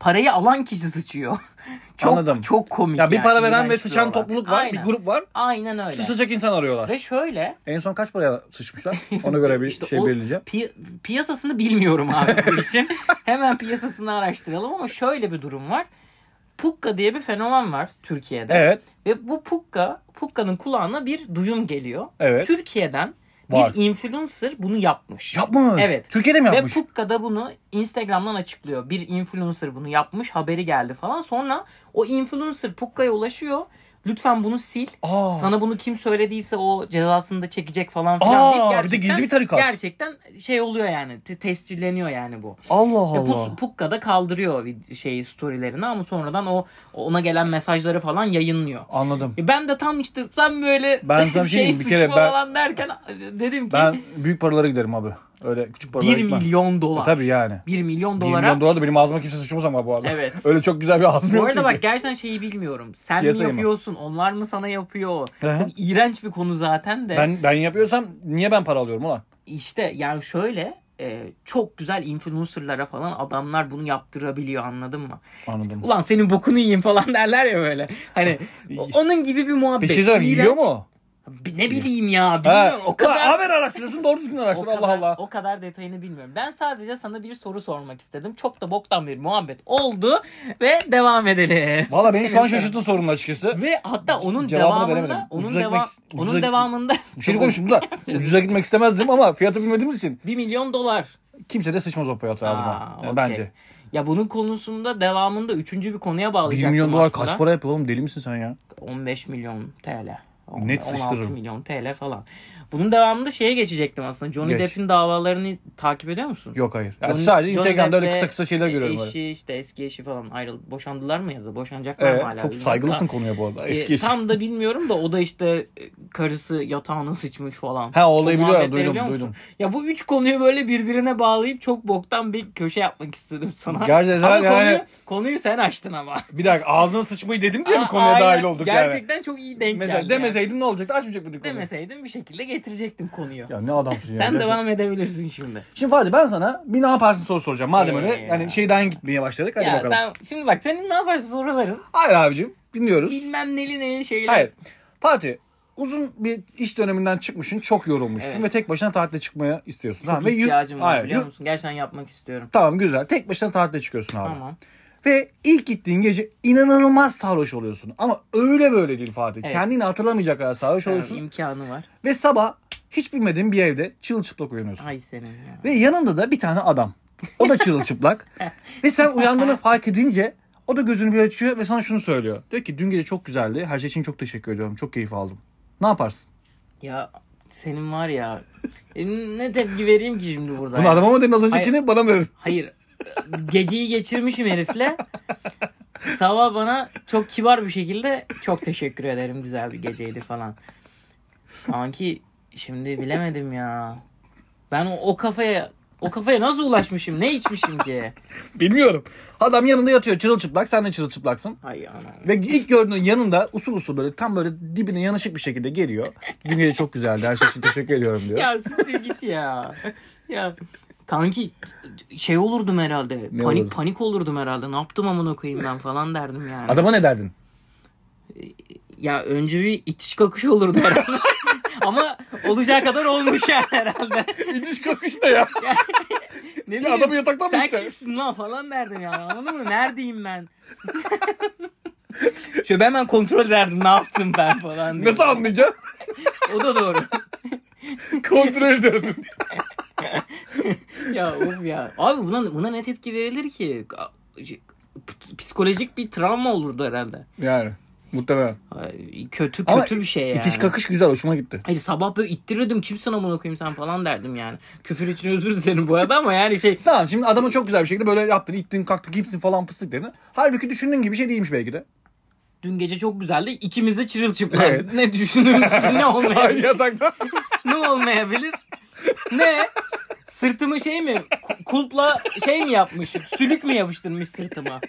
Speaker 2: parayı alan kişi sıçıyor. çok
Speaker 3: Anladım.
Speaker 2: çok komik.
Speaker 3: Ya bir
Speaker 2: yani,
Speaker 3: para veren ve
Speaker 2: iğrenç
Speaker 3: sıçan
Speaker 2: bir olay.
Speaker 3: topluluk var,
Speaker 2: Aynen.
Speaker 3: bir grup var.
Speaker 2: Aynen öyle.
Speaker 3: Sıçacak insan arıyorlar.
Speaker 2: Ve şöyle
Speaker 3: En son kaç paraya sıçmışlar? Ona göre bir
Speaker 2: işte
Speaker 3: şey
Speaker 2: o
Speaker 3: belirleyeceğim.
Speaker 2: pi- piyasasını bilmiyorum abi bu işin. Hemen piyasasını araştıralım ama şöyle bir durum var. Pukka diye bir fenomen var Türkiye'de.
Speaker 3: Evet.
Speaker 2: Ve bu Pukka, Pukka'nın kulağına bir duyum geliyor.
Speaker 3: Evet.
Speaker 2: Türkiye'den
Speaker 3: Var.
Speaker 2: bir influencer bunu yapmış.
Speaker 3: Yapmış.
Speaker 2: Evet.
Speaker 3: Türkiye'de mi yapmış?
Speaker 2: Ve Pukka da bunu Instagram'dan açıklıyor. Bir influencer bunu yapmış haberi geldi falan. Sonra o influencer Pukka'ya ulaşıyor. Lütfen bunu sil.
Speaker 3: Aa.
Speaker 2: Sana bunu kim söylediyse o cezasını da çekecek falan filan.
Speaker 3: Aa,
Speaker 2: deyip
Speaker 3: bir de gizli bir tarikat.
Speaker 2: Gerçekten şey oluyor yani te- tescilleniyor yani bu.
Speaker 3: Allah
Speaker 2: Ve Pus-
Speaker 3: Allah.
Speaker 2: Pukka da kaldırıyor vid- şeyi storylerini ama sonradan o ona gelen mesajları falan yayınlıyor.
Speaker 3: Anladım.
Speaker 2: E Ben de tam işte sen böyle
Speaker 3: Ben sana bir şey diyeyim, bir kere
Speaker 2: sıçma
Speaker 3: ben-
Speaker 2: falan derken e, dedim ki
Speaker 3: Ben büyük paralara giderim abi. Öyle küçük
Speaker 2: 1
Speaker 3: paralara gitmem.
Speaker 2: milyon dolar.
Speaker 3: E tabii yani.
Speaker 2: 1 milyon
Speaker 3: 1
Speaker 2: dolara.
Speaker 3: milyon dolar da benim ağzıma kimse sıçmaz ama bu arada.
Speaker 2: Evet.
Speaker 3: Öyle çok güzel bir ağzım
Speaker 2: Bu
Speaker 3: yok
Speaker 2: arada
Speaker 3: çünkü.
Speaker 2: bak gerçekten şeyi bilmiyorum. Sen
Speaker 3: Piyasayı
Speaker 2: mi
Speaker 3: mı?
Speaker 2: yapıyorsun? Onlar mı sana yapıyor?
Speaker 3: Hı hı.
Speaker 2: Çok iğrenç bir konu zaten de.
Speaker 3: Ben, ben yapıyorsam niye ben para alıyorum ulan?
Speaker 2: İşte yani şöyle e, çok güzel influencerlara falan adamlar bunu yaptırabiliyor anladın mı?
Speaker 3: Anladım.
Speaker 2: Ulan senin bokunu yiyeyim falan derler ya böyle. Hani onun gibi bir muhabbet.
Speaker 3: Bir şey söyleyeyim.
Speaker 2: İğrenç.
Speaker 3: Yiyor mu?
Speaker 2: Bi- Ne bileyim ya
Speaker 3: Ha,
Speaker 2: bilmiyorum o kadar.
Speaker 3: Haber araştırıyorsun doğru düzgün
Speaker 2: O
Speaker 3: araştır
Speaker 2: kadar,
Speaker 3: Allah Allah.
Speaker 2: o kadar detayını bilmiyorum. Ben sadece sana bir soru sormak istedim. Çok da boktan bir muhabbet oldu ve devam edelim.
Speaker 3: Valla beni şu an
Speaker 2: Senin-
Speaker 3: şaşırttın sorunun açıkçası.
Speaker 2: Ve hatta onun
Speaker 3: Cevabını
Speaker 2: devamında
Speaker 3: veremedim.
Speaker 2: onun,
Speaker 3: Ucuza
Speaker 2: deva-
Speaker 3: gitmek- ucuza
Speaker 2: onun
Speaker 3: git-
Speaker 2: devamında
Speaker 3: Bir şey konuştum da ucuza gitmek istemezdim ama fiyatı bilmediğimiz için
Speaker 2: 1 milyon dolar.
Speaker 3: kimse de sıçmaz o fiyatı
Speaker 2: Aa,
Speaker 3: ağzıma. Yani
Speaker 2: okey.
Speaker 3: E, Bence.
Speaker 2: Ya bunun konusunda devamında üçüncü bir konuya
Speaker 3: 1
Speaker 2: bağlayacaktım
Speaker 3: milyon dolar
Speaker 2: aslında.
Speaker 3: kaç para yapıyor oğlum deli misin sen ya?
Speaker 2: 15 milyon TL. On-
Speaker 3: Net
Speaker 2: 16
Speaker 3: sıçtırırım.
Speaker 2: milyon TL falan. Bunun devamında şeye geçecektim aslında. Johnny
Speaker 3: Geç.
Speaker 2: Depp'in davalarını takip ediyor musun?
Speaker 3: Yok hayır. Yani
Speaker 2: Johnny-
Speaker 3: sadece
Speaker 2: Johnny
Speaker 3: Instagram'da öyle
Speaker 2: Depp
Speaker 3: kısa
Speaker 2: ve
Speaker 3: kısa şeyler görüyorum.
Speaker 2: Eşi
Speaker 3: böyle.
Speaker 2: işte eski eşi falan ayrıldı. Boşandılar mı ya da boşanacaklar mı
Speaker 3: Evet,
Speaker 2: hala?
Speaker 3: çok
Speaker 2: bilmiyorum
Speaker 3: saygılısın
Speaker 2: da.
Speaker 3: konuya bu arada.
Speaker 2: E,
Speaker 3: Eski eşi.
Speaker 2: tam da bilmiyorum da o da işte e, karısı yatağına sıçmış falan.
Speaker 3: Ha, o olayı biliyorum,
Speaker 2: muhabbetleri
Speaker 3: duydum,
Speaker 2: biliyor musun?
Speaker 3: duydum.
Speaker 2: Ya bu üç konuyu böyle birbirine bağlayıp çok boktan bir köşe yapmak istedim sana.
Speaker 3: Gerçekten
Speaker 2: ama
Speaker 3: yani-
Speaker 2: konuyu, konuyu sen açtın ama.
Speaker 3: Bir dakika ağzına sıçmayı dedim diye mi konuya
Speaker 2: Aynen.
Speaker 3: dahil olduk yani?
Speaker 2: Gerçekten çok iyi denk
Speaker 3: Mesela
Speaker 2: geldi. yani.
Speaker 3: demeseydim ne olacaktı? Açmayacak mıydık konuyu?
Speaker 2: Demeseydim bir şekilde getirecektim konuyu.
Speaker 3: Ya ne adamsın ya.
Speaker 2: sen
Speaker 3: gerçekten.
Speaker 2: devam edebilirsin şimdi.
Speaker 3: Şimdi Fatih ben sana bir ne yaparsın soru soracağım. Madem
Speaker 2: Ee,
Speaker 3: öyle
Speaker 2: ya.
Speaker 3: hani şeyden gitmeye başladık hadi
Speaker 2: ya
Speaker 3: bakalım.
Speaker 2: sen şimdi bak senin ne yaparsın soruların
Speaker 3: Hayır abicim dinliyoruz.
Speaker 2: bilmem neli neli şeyler.
Speaker 3: Hayır. Fatih uzun bir iş döneminden çıkmışsın çok yorulmuşsun
Speaker 2: Evet.
Speaker 3: ve tek başına tatile çıkmaya istiyorsun.
Speaker 2: Çok
Speaker 3: ve yu-
Speaker 2: ihtiyacım var
Speaker 3: Hayır,
Speaker 2: biliyor
Speaker 3: yu-
Speaker 2: musun? Gerçekten yapmak istiyorum.
Speaker 3: Tamam güzel. Tek başına tatile çıkıyorsun abi.
Speaker 2: Tamam.
Speaker 3: Ve ilk gittiğin gece inanılmaz sarhoş oluyorsun. Ama öyle böyle değil Fatih.
Speaker 2: Evet.
Speaker 3: Kendini hatırlamayacak kadar sarhoş
Speaker 2: Yani
Speaker 3: oluyorsun.
Speaker 2: imkanı var.
Speaker 3: Ve sabah hiç bilmediğin bir evde çılçıplak uyanıyorsun.
Speaker 2: Ay senin ya.
Speaker 3: Ve yanında da bir tane adam. O da çırılçıplak. ve sen uyandığını fark edince o da gözünü bir açıyor ve sana şunu söylüyor. Diyor ki dün gece çok güzeldi. Her şey için çok teşekkür ediyorum. Çok keyif aldım. Ne yaparsın?
Speaker 2: Ya senin var ya. E, ne tepki vereyim ki şimdi burada?
Speaker 3: Bunu
Speaker 2: ya?
Speaker 3: adama mı dedin az öncekini bana mı dedin?
Speaker 2: Hayır. Geceyi geçirmişim herifle. Sabah bana çok kibar bir şekilde çok teşekkür ederim güzel bir geceydi falan. Kanki şimdi bilemedim ya. Ben o, o kafaya o kafaya nasıl ulaşmışım? Ne içmişim ki?
Speaker 3: Bilmiyorum. Adam yanında yatıyor çırılçıplak. Sen de çırılçıplaksın.
Speaker 2: Ay anam.
Speaker 3: Ve ilk gördüğün yanında usul usul böyle tam böyle dibine yanaşık bir şekilde geliyor. Dün gece çok güzeldi. Her şey için teşekkür ediyorum diyor.
Speaker 2: Ya siktir git ya. Ya kanki şey olurdum herhalde.
Speaker 3: Ne
Speaker 2: panik
Speaker 3: olurdu?
Speaker 2: panik olurdum herhalde. Ne yaptım amına koyayım ben falan derdim yani.
Speaker 3: Adama ne derdin?
Speaker 2: Ya önce bir itiş kakış olurdu herhalde. Ama olacağı kadar olmuş yani herhalde.
Speaker 3: İtiş kakış da ya.
Speaker 2: Ne
Speaker 3: Adamı
Speaker 2: bileyim,
Speaker 3: yataktan mı
Speaker 2: Sen
Speaker 3: iteceksin?"
Speaker 2: kimsin lan falan derdim ya. Anladın mı? Neredeyim ben? Şöyle ben hemen kontrol ederdim ne yaptım ben falan. diye.
Speaker 3: Nasıl anlayacaksın?
Speaker 2: O da doğru.
Speaker 3: Kontrol ediyorum.
Speaker 2: ya of ya. Abi buna, buna ne tepki verilir ki? Psikolojik bir travma olurdu herhalde.
Speaker 3: Yani muhtemelen.
Speaker 2: Ay, Kötü
Speaker 3: Ama
Speaker 2: kötü bir şey yani.
Speaker 3: İtiş kakış güzel hoşuma gitti.
Speaker 2: Hayır sabah böyle ittirirdim kimsin amına koyayım sen falan derdim yani. Küfür için özür dilerim bu arada ama yani şey
Speaker 3: Tamam şimdi adama çok güzel bir şekilde böyle yaptın ittin kalktın gipsin falan fıstıklarını. Halbuki düşündüğün gibi şey değilmiş belki de.
Speaker 2: dün gece çok güzeldi ikimiz de çırılçıplak.
Speaker 3: Evet.
Speaker 2: Ne düşündüğümüz gibi ne olmayabilir?
Speaker 3: yatakta.
Speaker 2: ne olmayabilir? Ne? Sırtımı şey mi ku- kulpla şey mi yapmış? Sülük mü yapıştırmış sırtıma?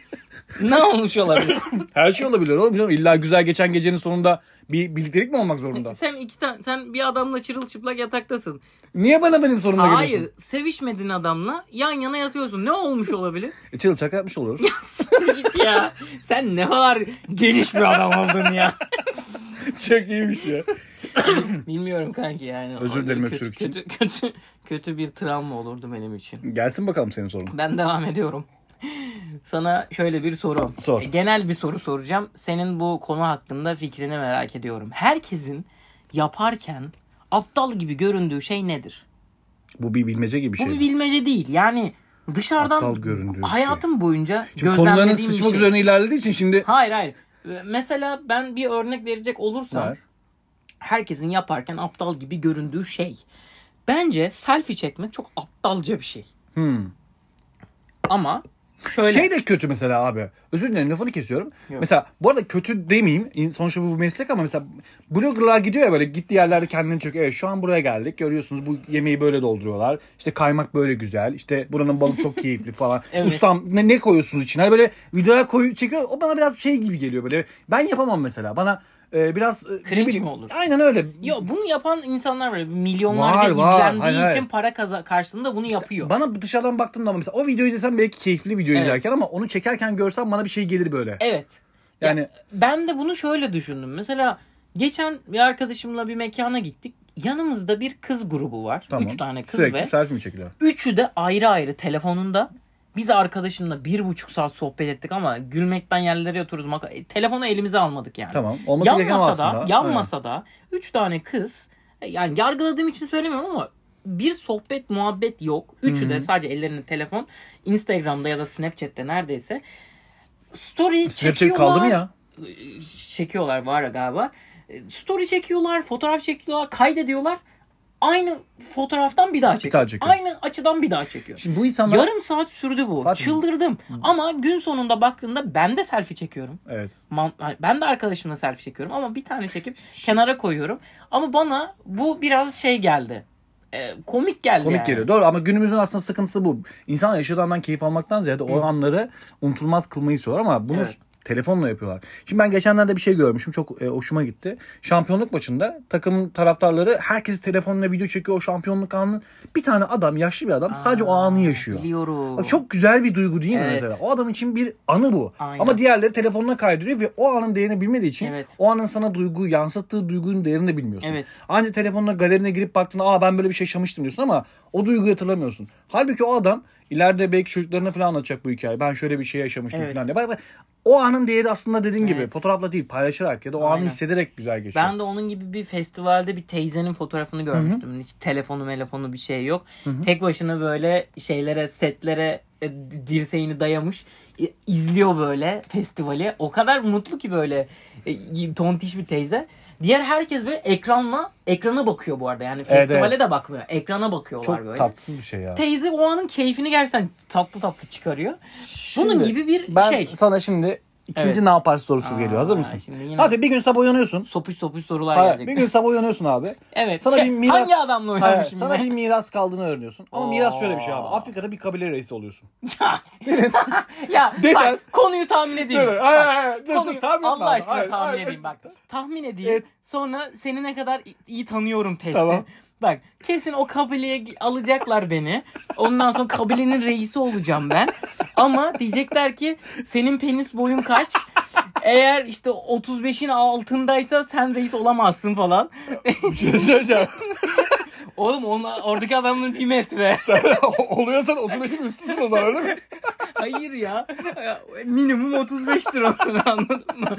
Speaker 2: Ne olmuş olabilir?
Speaker 3: Her şey olabilir oğlum. Biliyor musun? İlla güzel geçen gecenin sonunda bir birliktelik mi olmak zorunda?
Speaker 2: sen iki tane sen bir adamla çırılçıplak yataktasın.
Speaker 3: Niye bana benim sorumla geliyorsun?
Speaker 2: Hayır, sevişmediğin adamla yan yana yatıyorsun. Ne olmuş olabilir?
Speaker 3: E, çılçak yapmış oluyoruz.
Speaker 2: Siktir git ya. Sen ne kadar geniş bir adam oldun ya.
Speaker 3: çok iyiymiş ya.
Speaker 2: Bilmiyorum kanki yani.
Speaker 3: Özür dilerim
Speaker 2: Kötü-
Speaker 3: öksürük
Speaker 2: kötü, Kötü, kötü bir travma olurdu benim için.
Speaker 3: Gelsin bakalım senin sorun.
Speaker 2: Ben devam ediyorum. Sana şöyle bir soru. E,
Speaker 3: Sor.
Speaker 2: Genel bir soru soracağım. Senin bu konu hakkında fikrini merak ediyorum. Herkesin yaparken aptal gibi göründüğü şey nedir?
Speaker 3: Bu bir bilmece gibi bir şey.
Speaker 2: Bu bir bilmece değil. Yani
Speaker 3: Aptal
Speaker 2: dışarıdan
Speaker 3: göründüğü şey.
Speaker 2: hayatım boyunca
Speaker 3: Şimdi
Speaker 2: gözlemlediğim
Speaker 3: konuların
Speaker 2: bir
Speaker 3: sıçmak
Speaker 2: şey.
Speaker 3: üzerine ilerlediği için şimdi
Speaker 2: Hayır hayır. Mesela ben bir örnek verecek olursam
Speaker 3: Ver.
Speaker 2: herkesin yaparken aptal gibi göründüğü şey. Bence selfie çekmek çok aptalca bir şey.
Speaker 3: Hmm.
Speaker 2: Ama şöyle
Speaker 3: Şey de kötü mesela abi. Özür dilerim lafını kesiyorum.
Speaker 2: Yok.
Speaker 3: Mesela bu arada kötü demeyeyim. İn- Sonuçta bu bir meslek ama mesela bloggerlar gidiyor ya böyle gittiği yerlerde kendini çekiyor. Evet şu an buraya geldik. Görüyorsunuz bu yemeği böyle dolduruyorlar. İşte kaymak böyle güzel. İşte buranın balı çok keyifli falan.
Speaker 2: Evet.
Speaker 3: Ustam ne, ne koyuyorsunuz içine? Hani Böyle videolar koyu çekiyor. O bana biraz şey gibi geliyor böyle. Ben yapamam mesela. Bana e, biraz... e,
Speaker 2: Cringe
Speaker 3: ne bileyim-
Speaker 2: mi olur?
Speaker 3: Aynen öyle.
Speaker 2: Yo, bunu yapan insanlar var. Milyonlarca
Speaker 3: Var, var.
Speaker 2: izlendiği
Speaker 3: Hayır,
Speaker 2: için
Speaker 3: hayır.
Speaker 2: para kaza- karşılığında bunu yapıyor.
Speaker 3: Bana dışarıdan baktığımda ama mesela o videoyu izlesem belki keyifli video
Speaker 2: Evet.
Speaker 3: izlerken ama onu çekerken görsem bana bir şey gelir böyle.
Speaker 2: Evet.
Speaker 3: Yani
Speaker 2: Ben de bunu şöyle düşündüm. Mesela Geçen bir arkadaşımla bir mekana gittik. Yanımızda bir kız grubu var.
Speaker 3: Tamam.
Speaker 2: Üç tane kız
Speaker 3: Sürekli
Speaker 2: ve
Speaker 3: selfie mi çekiliyor?
Speaker 2: üçü de ayrı ayrı telefonunda. Biz arkadaşımla bir buçuk saat sohbet ettik ama gülmekten yerlere yatıyoruz. Maka- e, telefonu elimize almadık yani.
Speaker 3: Tamam. Olması
Speaker 2: yan
Speaker 3: gereken o
Speaker 2: masada,
Speaker 3: aslında.
Speaker 2: yan
Speaker 3: Aynen.
Speaker 2: masada üç tane kız e, yani yargıladığım için söylemiyorum ama bir sohbet muhabbet yok. Üçü de sadece ellerinde telefon Instagram'da ya da Snapchat'te neredeyse story
Speaker 3: Snapchat
Speaker 2: çekiyorlar.
Speaker 3: şey kaldı mı ya?
Speaker 2: E, Çekiyorlar var ya galiba. E, Story çekiyorlar, fotoğraf çekiyorlar, kaydediyorlar. Aynı fotoğraftan bir daha çekiyor.
Speaker 3: daha çekiyor.
Speaker 2: Aynı açıdan bir daha çekiyor.
Speaker 3: Şimdi bu insanlar...
Speaker 2: Yarım saat sürdü bu.
Speaker 3: Fatih-
Speaker 2: Çıldırdım. Ama gün sonunda baktığında ben de selfie çekiyorum.
Speaker 3: Evet.
Speaker 2: Man- Ay, Ben de arkadaşımla selfie çekiyorum ama bir tane çekip kenara koyuyorum. Ama bana bu biraz şey geldi. Ee, komik geldi
Speaker 3: Komik
Speaker 2: yani.
Speaker 3: geliyor. Doğru ama günümüzün aslında sıkıntısı bu. İnsan yaşadığı andan keyif almaktan ziyade o anları unutulmaz kılmayı istiyorlar ama bunu
Speaker 2: Evet.
Speaker 3: telefonla yapıyorlar. Şimdi ben geçenlerde bir şey görmüşüm. Çok e, hoşuma gitti. Şampiyonluk maçında takım taraftarları herkes telefonla video çekiyor o şampiyonluk anını. Bir tane adam, yaşlı bir adam sadece o anı yaşıyor.
Speaker 2: Biliyorum.
Speaker 3: Abi Çok güzel bir duygu değil mi
Speaker 2: Evet.
Speaker 3: mesela? O adam için bir anı bu.
Speaker 2: Aynen.
Speaker 3: Ama diğerleri telefonuna kaydırıyor ve o anın değerini bilmediği için
Speaker 2: Evet.
Speaker 3: o anın sana duygu yansıttığı duygunun değerini de bilmiyorsun.
Speaker 2: Evet.
Speaker 3: Anca telefonuna galerine girip baktığında aa ben böyle bir şey yaşamıştım diyorsun ama o duyguyu hatırlamıyorsun. Halbuki o adam ileride belki çocuklarına falan anlatacak bu hikayeyi. Ben şöyle bir şey yaşamıştım
Speaker 2: Evet.
Speaker 3: falan diye. Bak, bak, o anın değeri aslında dediğin gibi
Speaker 2: Evet.
Speaker 3: fotoğrafla değil paylaşarak ya da o
Speaker 2: Aynen.
Speaker 3: anı hissederek güzel geçiyor.
Speaker 2: Ben de onun gibi bir festivalde bir teyzenin fotoğrafını görmüştüm. Hiç telefonu telefonu bir şey yok. Tek başına böyle şeylere setlere e, dirseğini dayamış e, izliyor böyle festivali. O kadar mutlu ki böyle e, tontiş bir teyze. Diğer herkes böyle ekranla ekrana bakıyor bu arada. Yani festivale
Speaker 3: evet.
Speaker 2: de bakmıyor. Ekrana bakıyorlar
Speaker 3: Çok
Speaker 2: böyle.
Speaker 3: tatsız bir şey ya.
Speaker 2: Teyze o anın keyfini gerçekten tatlı tatlı çıkarıyor. Bunun
Speaker 3: Şimdi
Speaker 2: gibi bir
Speaker 3: ben
Speaker 2: şey.
Speaker 3: sana şimdi ikinci
Speaker 2: Evet.
Speaker 3: ne yaparsın sorusu
Speaker 2: Aa,
Speaker 3: geliyor. Hazır mısın?
Speaker 2: şimdi yine-
Speaker 3: Hadi bir gün sabah uyanıyorsun.
Speaker 2: Sopuş sopuş sorular
Speaker 3: Hayır,
Speaker 2: gelecek.
Speaker 3: bir gün sabah uyanıyorsun abi.
Speaker 2: Evet.
Speaker 3: Sana
Speaker 2: Şey,
Speaker 3: bir miras-
Speaker 2: Hangi adamla
Speaker 3: Hayır,
Speaker 2: oynamışım
Speaker 3: sana
Speaker 2: yine?
Speaker 3: bir miras kaldığını öğreniyorsun. Ama
Speaker 2: Oo.
Speaker 3: miras şöyle bir şey abi. Afrika'da bir kabile reisi oluyorsun.
Speaker 2: Ya, ya
Speaker 3: Deden-
Speaker 2: bak konuyu tahmin edeyim.
Speaker 3: Hayır,
Speaker 2: Bak,
Speaker 3: hayır, hayır. Dur,
Speaker 2: konuyu-
Speaker 3: dur, tahmin etme
Speaker 2: Allah
Speaker 3: abi.
Speaker 2: aşkına
Speaker 3: Hayır,
Speaker 2: tahmin
Speaker 3: hayır.
Speaker 2: edeyim bak. Tahmin edeyim.
Speaker 3: Evet.
Speaker 2: Sonra seni ne kadar i- iyi tanıyorum testi.
Speaker 3: Tamam.
Speaker 2: Bak kesin o kabileye gi- alacaklar beni. Ondan sonra kabilenin reisi olacağım ben. Ama diyecekler ki senin penis boyun kaç? Eğer işte 35'in altındaysa sen reis olamazsın falan.
Speaker 3: Bir şey söyleyeceğim.
Speaker 2: Oğlum ona, oradaki adamın bir metre.
Speaker 3: Sen oluyorsan 35'in üstüsün o zaman öyle mi?
Speaker 2: Hayır ya. Minimum 35 lira olur, anladın mı?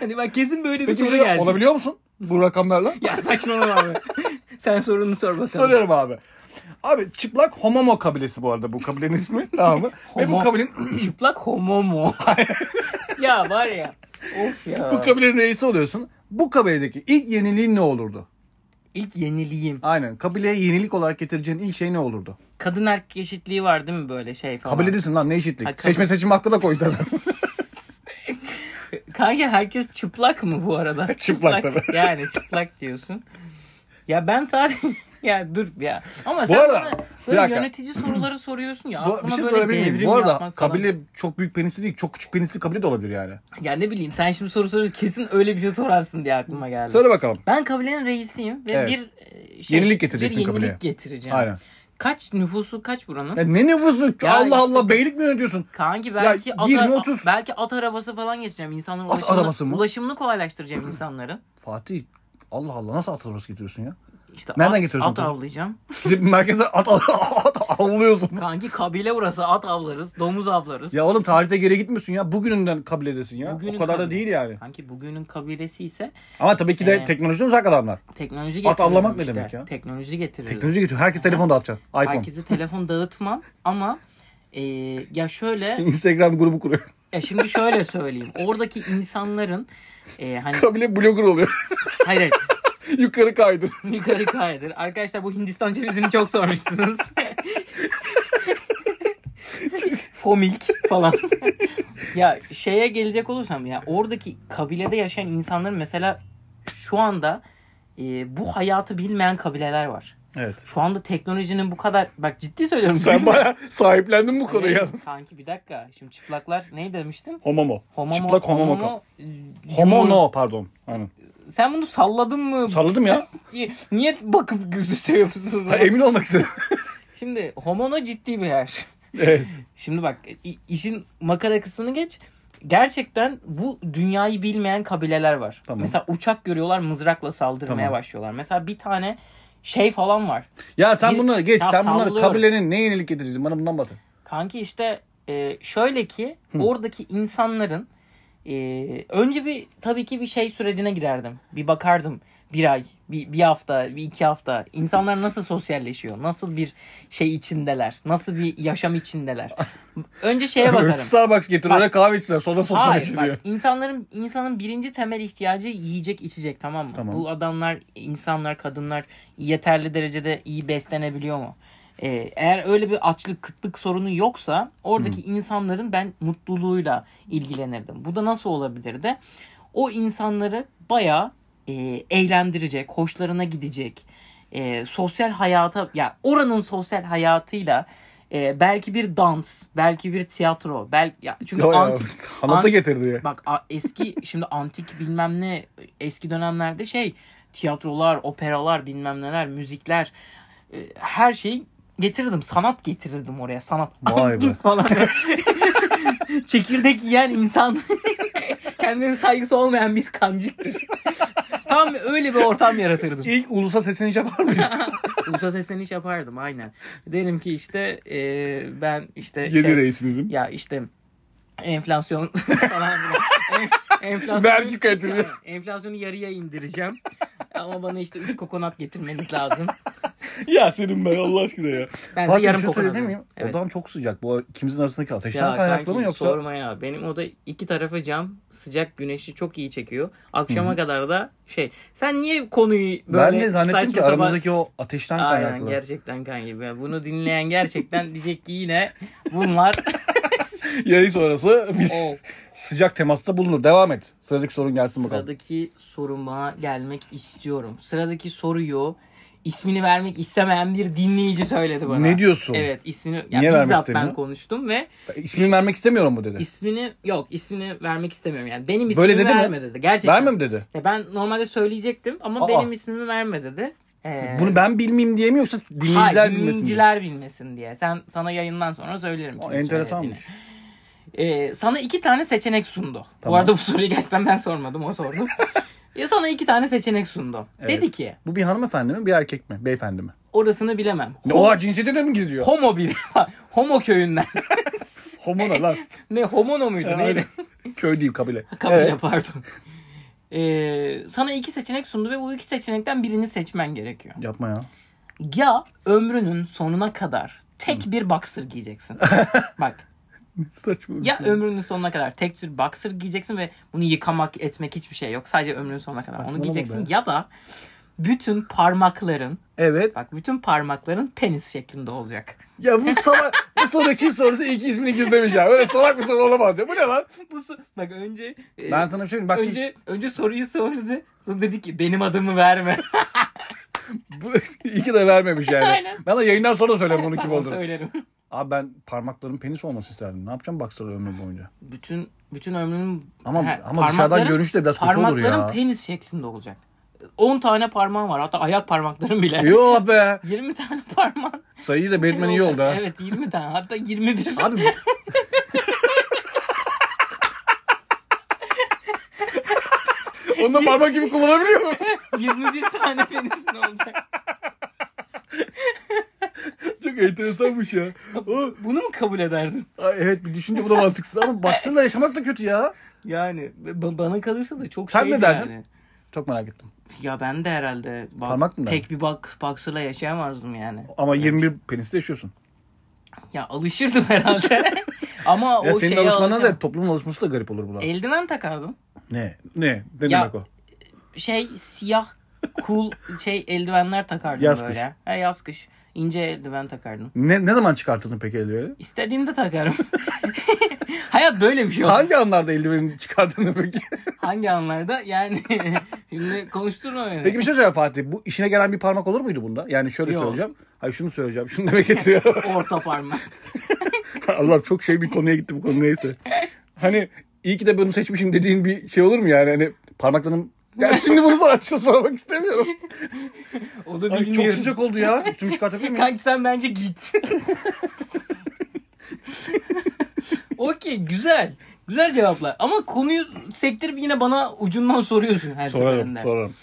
Speaker 2: Hani bak kesin böyle
Speaker 3: Peki
Speaker 2: bir
Speaker 3: bir
Speaker 2: soru
Speaker 3: şey
Speaker 2: gelecek.
Speaker 3: olabiliyor musun? Bu rakamlarla.
Speaker 2: Ya saçmalama abi. Sen sorunu sor bakalım.
Speaker 3: Soruyorum abi. Abi çıplak homomo kabilesi bu arada bu kabilenin ismi tamam mı? Ve bu
Speaker 2: Homo-
Speaker 3: kabilenin
Speaker 2: Çıplak homo mu? ya var ya. Of ya.
Speaker 3: bu kabilenin reisi oluyorsun. Bu kabiledeki ilk yeniliğin ne olurdu?
Speaker 2: İlk yeniliğim.
Speaker 3: Aynen. Kabileye yenilik olarak getireceğin ilk şey ne olurdu?
Speaker 2: Kadın erkek eşitliği var değil mi böyle şey falan?
Speaker 3: Kabiledesin lan ne eşitlik.
Speaker 2: Ha, kabile-
Speaker 3: Seçme seçim hakkı da koyacağız.
Speaker 2: Kanka herkes çıplak mı bu arada?
Speaker 3: Çıplak tabii.
Speaker 2: Yani çıplak diyorsun. Ya ben sadece ya dur ya. Ama sen
Speaker 3: arada,
Speaker 2: bana
Speaker 3: bir
Speaker 2: böyle
Speaker 3: dakika.
Speaker 2: yönetici soruları soruyorsun ya.
Speaker 3: Bu,
Speaker 2: aklıma
Speaker 3: bir şey
Speaker 2: böyle
Speaker 3: söyleyebilir miyim?
Speaker 2: devrim
Speaker 3: Bu arada
Speaker 2: yapmak falan.
Speaker 3: kabile çok büyük penisli değil, çok küçük penisli kabile de olabilir yani.
Speaker 2: Ya ne bileyim sen şimdi soru soruyorsun kesin öyle bir şey sorarsın diye aklıma geldi.
Speaker 3: Söyle bakalım.
Speaker 2: Ben kabilenin reisiyim ve
Speaker 3: Evet.
Speaker 2: bir e, şey,
Speaker 3: Yenilik getireceksin
Speaker 2: bir yenilik
Speaker 3: kabileye.
Speaker 2: getireceğim.
Speaker 3: Aynen.
Speaker 2: Kaç nüfusu kaç buranın?
Speaker 3: Ya ne nüfusu?
Speaker 2: Ya
Speaker 3: Allah
Speaker 2: işte-
Speaker 3: Allah beylik mi yönetiyorsun?
Speaker 2: Kanki belki
Speaker 3: Ya
Speaker 2: at,
Speaker 3: 20-30.
Speaker 2: belki at arabası falan geçeceğim insanların
Speaker 3: At
Speaker 2: ulaşımını,
Speaker 3: arabası mı?
Speaker 2: ulaşımını kolaylaştıracağım insanların.
Speaker 3: Fatih Allah Allah nasıl at arabası getiriyorsun ya?
Speaker 2: İşte
Speaker 3: Nereden
Speaker 2: at,
Speaker 3: getiriyorsun
Speaker 2: at
Speaker 3: tabii?
Speaker 2: avlayacağım.
Speaker 3: Gidip merkeze at, at, at avlıyorsun.
Speaker 2: Kanki kabile burası at avlarız, domuz avlarız.
Speaker 3: Ya oğlum tarihte geri gitmiyorsun ya. Bugününden kabiledesin ya.
Speaker 2: Bugünün
Speaker 3: o kadar
Speaker 2: kabile-
Speaker 3: da değil yani.
Speaker 2: Kanki bugünün kabilesi ise
Speaker 3: Ama tabii ki de
Speaker 2: Ee,
Speaker 3: teknolojiden uzak adamlar.
Speaker 2: teknoloji getiririm
Speaker 3: avlamak ne
Speaker 2: işte.
Speaker 3: demek ya?
Speaker 2: Teknoloji getiririm.
Speaker 3: Teknoloji getiriyor. Herkes telefonda atacak. iPhone.
Speaker 2: Herkese telefon dağıtmam ama e, ya şöyle
Speaker 3: Instagram grubu kuruyor.
Speaker 2: Ya şimdi şöyle söyleyeyim. Oradaki insanların e, hani
Speaker 3: Kabile blogger oluyor.
Speaker 2: hayır hayır
Speaker 3: Yukarı kaydır.
Speaker 2: yukarı kaydır. Arkadaşlar bu Hindistan cevizini çok sormuşsunuz. Fomik falan. ya şeye gelecek olursam ya oradaki kabilede yaşayan insanların mesela şu anda e, bu hayatı bilmeyen kabileler var.
Speaker 3: Evet.
Speaker 2: Şu anda teknolojinin bu kadar bak ciddi söylüyorum.
Speaker 3: Sen baya sahiplendin bu konuya yalnız.
Speaker 2: Sanki bir dakika. Şimdi çıplaklar ne demiştin?
Speaker 3: Homomo.
Speaker 2: Homo,
Speaker 3: Çıplak homomo. Homo,
Speaker 2: Homo
Speaker 3: no pardon. Aynen.
Speaker 2: Sen bunu salladın mı?
Speaker 3: Salladım ya.
Speaker 2: Niye- Niye bakıp gözü seviyorsunuz?
Speaker 3: Ha, emin olmak istedim.
Speaker 2: Şimdi homono ciddi bir yer.
Speaker 3: evet.
Speaker 2: Şimdi bak i- işin makara kısmını geç. gerçekten bu dünyayı bilmeyen kabileler var.
Speaker 3: Tamam.
Speaker 2: Mesela uçak görüyorlar mızrakla saldırmaya
Speaker 3: Tamam.
Speaker 2: başlıyorlar. Mesela bir tane şey falan var.
Speaker 3: Ya sen
Speaker 2: Bir-
Speaker 3: bunları geç.
Speaker 2: Ya
Speaker 3: sen bunları
Speaker 2: sallıyorum.
Speaker 3: kabilenin ne yenilik getirirsin? Bana bundan bahset.
Speaker 2: Kanki işte e, şöyle ki oradaki insanların e, önce bir tabii ki bir şey sürecine girerdim. Bir bakardım bir ay, bir, bir hafta, bir iki hafta. İnsanlar nasıl sosyalleşiyor? Nasıl bir şey içindeler? Nasıl bir yaşam içindeler? Önce şeye bakarım.
Speaker 3: Starbucks getir.
Speaker 2: Bak.
Speaker 3: Oraya kahve içsinler. Sonra sosyal
Speaker 2: Hayır
Speaker 3: içiliyor.
Speaker 2: bak insanların insanın birinci temel ihtiyacı yiyecek içecek tamam mı?
Speaker 3: Tamam.
Speaker 2: Bu adamlar insanlar kadınlar yeterli derecede iyi beslenebiliyor mu? Ee, eğer öyle bir açlık kıtlık sorunu yoksa oradaki insanların ben mutluluğuyla ilgilenirdim. Bu da nasıl olabilirdi? O insanları bayağı e, eğlendirecek, hoşlarına gidecek, e, sosyal hayata yani oranın sosyal hayatıyla e, belki bir dans, belki bir tiyatro, belki ya çünkü
Speaker 3: Yo, yo.
Speaker 2: antik
Speaker 3: Anıtı
Speaker 2: an-
Speaker 3: getirdi ya.
Speaker 2: Bak a- eski şimdi antik bilmem ne eski dönemlerde şey tiyatrolar, operalar bilmem neler, müzikler e, her şeyi getirirdim. Sanat getirirdim oraya. Sanat.
Speaker 3: Vay be.
Speaker 2: Antik falan. Çekirdek yiyen insan kendine saygısı olmayan bir kancıktır. Tam öyle bir ortam yaratırdım.
Speaker 3: İlk ulusa sesini yapar mıydı?
Speaker 2: Ulusal sesleniş yapardım aynen. Derim ki işte e, ben işte
Speaker 3: Yeni
Speaker 2: şey-
Speaker 3: reisimizin.
Speaker 2: ya işte enflasyon falan filan. En- enflasyonu,
Speaker 3: Vergi kadri.
Speaker 2: Yani Enflasyonu yarıya indireceğim. Ama bana işte 3 kokonat getirmeniz lazım.
Speaker 3: ya senin ben Allah aşkına ya.
Speaker 2: Ben
Speaker 3: Fatih
Speaker 2: de
Speaker 3: bir
Speaker 2: yarım
Speaker 3: şey
Speaker 2: kokonat.
Speaker 3: söyleyebilir miyim?
Speaker 2: Evet.
Speaker 3: Odam çok sıcak. Bu ikimizin arasındaki ateşten
Speaker 2: Ya
Speaker 3: kaynaklı mı
Speaker 2: kanki,
Speaker 3: yoksa?
Speaker 2: Sorma ya. Benim oda iki tarafı cam. Sıcak güneşi çok iyi çekiyor. Akşama kadar da şey. Sen niye konuyu böyle
Speaker 3: ben de zannettim
Speaker 2: saçma
Speaker 3: ki
Speaker 2: sapan-
Speaker 3: aramızdaki o ateşten
Speaker 2: Aynen
Speaker 3: kaynaklı.
Speaker 2: gerçekten kanki. Ya Bunu dinleyen gerçekten diyecek ki yine bunlar.
Speaker 3: Yayın sonrası bir
Speaker 2: Oh.
Speaker 3: sıcak temasta bulunur. Devam et. Sıradaki sorun gelsin bakalım.
Speaker 2: Sıradaki soruma gelmek istiyorum. Sıradaki soruyu ismini vermek istemeyen bir dinleyici söyledi bana.
Speaker 3: Ne diyorsun?
Speaker 2: Evet ismini ya
Speaker 3: Niye vermek
Speaker 2: bizzat ben
Speaker 3: istemiyor?
Speaker 2: konuştum ve
Speaker 3: İsmini vermek istemiyorum bu dedi.
Speaker 2: ismini yok ismini vermek istemiyorum yani benim ismimi
Speaker 3: Böyle dedi mi?
Speaker 2: verme dedi. Gerçekten.
Speaker 3: Vermem dedi.
Speaker 2: Ya ben normalde söyleyecektim ama
Speaker 3: Aa.
Speaker 2: benim ismimi verme dedi. Ee,
Speaker 3: Bunu ben bilmeyeyim diye mi yoksa dinleyiciler
Speaker 2: hayır,
Speaker 3: bilmesin diye?
Speaker 2: dinleyiciler bilmesin diye. Sen sana yayından sonra söylerim.
Speaker 3: Aa,
Speaker 2: kimin
Speaker 3: Enteresanmış.
Speaker 2: Ee, sana iki tane seçenek sundu. Bu
Speaker 3: Tamam.
Speaker 2: arada bu soruyu gerçekten ben sormadım o sordu. ya sana iki tane seçenek sundu.
Speaker 3: Evet.
Speaker 2: Dedi ki
Speaker 3: Bu bir hanımefendi mi bir erkek mi? Beyefendi mi?
Speaker 2: orasını bilemem.
Speaker 3: Ne,
Speaker 2: Ho-
Speaker 3: oha cinsiyeti de mi gizliyor?
Speaker 2: homo bir homo köyünden.
Speaker 3: Homo ne lan?
Speaker 2: ne homono muydu neydi?
Speaker 3: Köy değil kabile.
Speaker 2: Kabile
Speaker 3: Evet.
Speaker 2: pardon. Ee, sana iki seçenek sundu ve bu iki seçenekten birini seçmen gerekiyor.
Speaker 3: Yapma ya.
Speaker 2: Ya ömrünün sonuna kadar tek bir boxer giyeceksin. Bak
Speaker 3: Saçma bir
Speaker 2: ya
Speaker 3: şey.
Speaker 2: ömrünün sonuna kadar tek bir boxer giyeceksin ve bunu yıkamak etmek hiçbir şey yok. Sadece ömrünün sonuna kadar onu
Speaker 3: Saçmalama
Speaker 2: giyeceksin.
Speaker 3: be.
Speaker 2: Ya da bütün parmakların
Speaker 3: Evet.
Speaker 2: bak bütün parmakların penis şeklinde olacak.
Speaker 3: Ya bu salak. bu sonraki sorusu ilk ismini gizlemiş ya. Böyle salak bir soru olamaz ya. Bu ne lan?
Speaker 2: Bu su- bak önce e,
Speaker 3: Ben sana bir şey diyeyim. Bak
Speaker 2: önce önce soruyu söyledi. Sonra dedi ki benim adımı verme.
Speaker 3: bu, iyi ki de vermemiş yani.
Speaker 2: Aynen.
Speaker 3: Ben de yayından sonra söylerim bunu kim
Speaker 2: Tamam,
Speaker 3: olduğunu.
Speaker 2: söylerim.
Speaker 3: Abi ben parmaklarım penis olması isterdim. Ne yapacağım baksana ömrüm boyunca.
Speaker 2: Bütün bütün ömrümün
Speaker 3: Ama-
Speaker 2: He,
Speaker 3: ama dışarıdan
Speaker 2: parmakların-
Speaker 3: görünüş de biraz kötü olur ya.
Speaker 2: Parmakların penis şeklinde olacak. 10 tane parmağın var. Hatta ayak parmakların bile.
Speaker 3: Yo be.
Speaker 2: 20 tane parmağın.
Speaker 3: Sayıyı da belirtmen iyi oldu ha.
Speaker 2: Evet 20 tane. Hatta 21.
Speaker 3: Abi Onu da parmak gibi kullanabiliyor mu?
Speaker 2: 21 tane penisin olacak.
Speaker 3: Çok enteresanmış ya. O,
Speaker 2: Bunu mu kabul ederdin?
Speaker 3: Ay, evet bir düşünce bu da mantıksız ama baksınlar yaşamak da kötü ya.
Speaker 2: Yani ba- bana kalırsa da çok
Speaker 3: Sen
Speaker 2: şeydi
Speaker 3: ne derdin?
Speaker 2: yani.
Speaker 3: Çok merak ettim.
Speaker 2: Ya ben de herhalde bak-
Speaker 3: Parmak mı
Speaker 2: tek bir bak baksırla yaşayamazdım yani.
Speaker 3: Ama 21 penisle yaşıyorsun.
Speaker 2: Ya alışırdım herhalde. Ama
Speaker 3: Ya
Speaker 2: o
Speaker 3: senin
Speaker 2: şeye
Speaker 3: alışmana
Speaker 2: alışamam.
Speaker 3: da toplumun alışması da garip olur buna.
Speaker 2: Eldiven takardım.
Speaker 3: Ne? Ne? Ne
Speaker 2: Ya-
Speaker 3: demek o?
Speaker 2: Şey siyah cool şey eldivenler takardım
Speaker 3: Yaz
Speaker 2: böyle.
Speaker 3: kış.
Speaker 2: Ha, yaz kış. İnce eldiven takardım.
Speaker 3: Ne, ne zaman çıkartıldın peki eldiveni?
Speaker 2: İstediğimde takarım. Hayat böyle bir şey olsun.
Speaker 3: Hangi anlarda eldiveni çıkardın peki?
Speaker 2: Hangi anlarda? Yani şimdi konuşturma beni.
Speaker 3: peki bir şey söyle Fatih. Bu işine gelen bir parmak olur muydu bunda? Yani şöyle
Speaker 2: Yok.
Speaker 3: söyleyeceğim. Hayır şunu söyleyeceğim. Şunu demek getiriyor.
Speaker 2: Orta parmak.
Speaker 3: Allah çok şey bir konuya gitti bu konu neyse. Hani iyi ki de bunu seçmişim dediğin bir şey olur mu yani? Hani parmaklarım... Yani şimdi bunu sana açıkça sormak istemiyorum.
Speaker 2: O da
Speaker 3: Ay,
Speaker 2: bilmiyorum.
Speaker 3: çok sıcak oldu ya. Üstümü çıkartabilir miyim?
Speaker 2: Kanki sen bence git. Okey güzel. Güzel cevaplar. Ama konuyu sektirip yine bana ucundan soruyorsun her
Speaker 3: Sorarım
Speaker 2: seferinde.
Speaker 3: sorarım.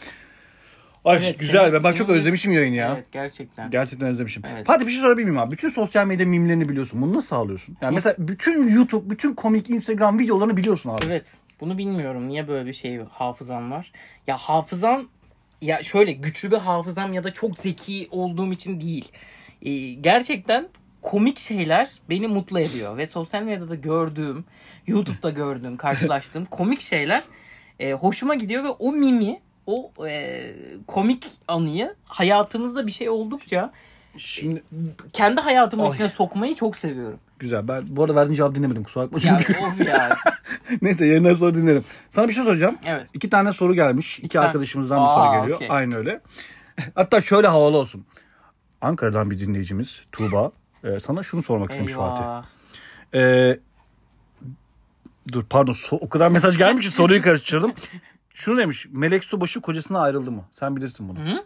Speaker 3: Ay
Speaker 2: Evet,
Speaker 3: güzel.
Speaker 2: senin-
Speaker 3: Ben, ben çok
Speaker 2: senin-
Speaker 3: özlemişim yayını ya.
Speaker 2: Evet gerçekten.
Speaker 3: Gerçekten özlemişim.
Speaker 2: Evet.
Speaker 3: Fatih bir şey sorabilir miyim abi? Bütün sosyal medya mimlerini biliyorsun. Bunu nasıl sağlıyorsun? Yani mesela bütün YouTube, bütün komik Instagram videolarını biliyorsun abi.
Speaker 2: Evet. Bunu bilmiyorum. Niye böyle bir şey hafızam var? Ya hafızam ya şöyle güçlü bir hafızam ya da çok zeki olduğum için değil. Ee, gerçekten komik şeyler beni mutlu ediyor ve sosyal medyada gördüğüm, YouTube'da gördüğüm, karşılaştığım komik şeyler e, hoşuma gidiyor ve o mimi, o e, komik anıyı hayatımızda bir şey oldukça
Speaker 3: Şimdi
Speaker 2: kendi hayatımın
Speaker 3: Ay.
Speaker 2: içine sokmayı çok seviyorum.
Speaker 3: güzel. Ben bu arada verdiğin cevabı dinlemedim. Kusura bakma
Speaker 2: Ya
Speaker 3: çünkü.
Speaker 2: of ya.
Speaker 3: Neyse yayından sonra dinlerim. Sana bir şey soracağım.
Speaker 2: Evet.
Speaker 3: İki tane soru gelmiş. İki,
Speaker 2: tane-
Speaker 3: arkadaşımızdan bir
Speaker 2: Aa,
Speaker 3: soru geliyor.
Speaker 2: okey.
Speaker 3: Aynı öyle. Hatta şöyle havalı olsun. Ankara'dan bir dinleyicimiz Tuğba e, sana şunu sormak istemiş Fatih.
Speaker 2: Eyvah.
Speaker 3: E, dur pardon so- o kadar mesaj gelmiş ki soruyu karıştırdım. Şunu demiş. Melek Subaşı kocasına ayrıldı mı? Sen bilirsin bunu.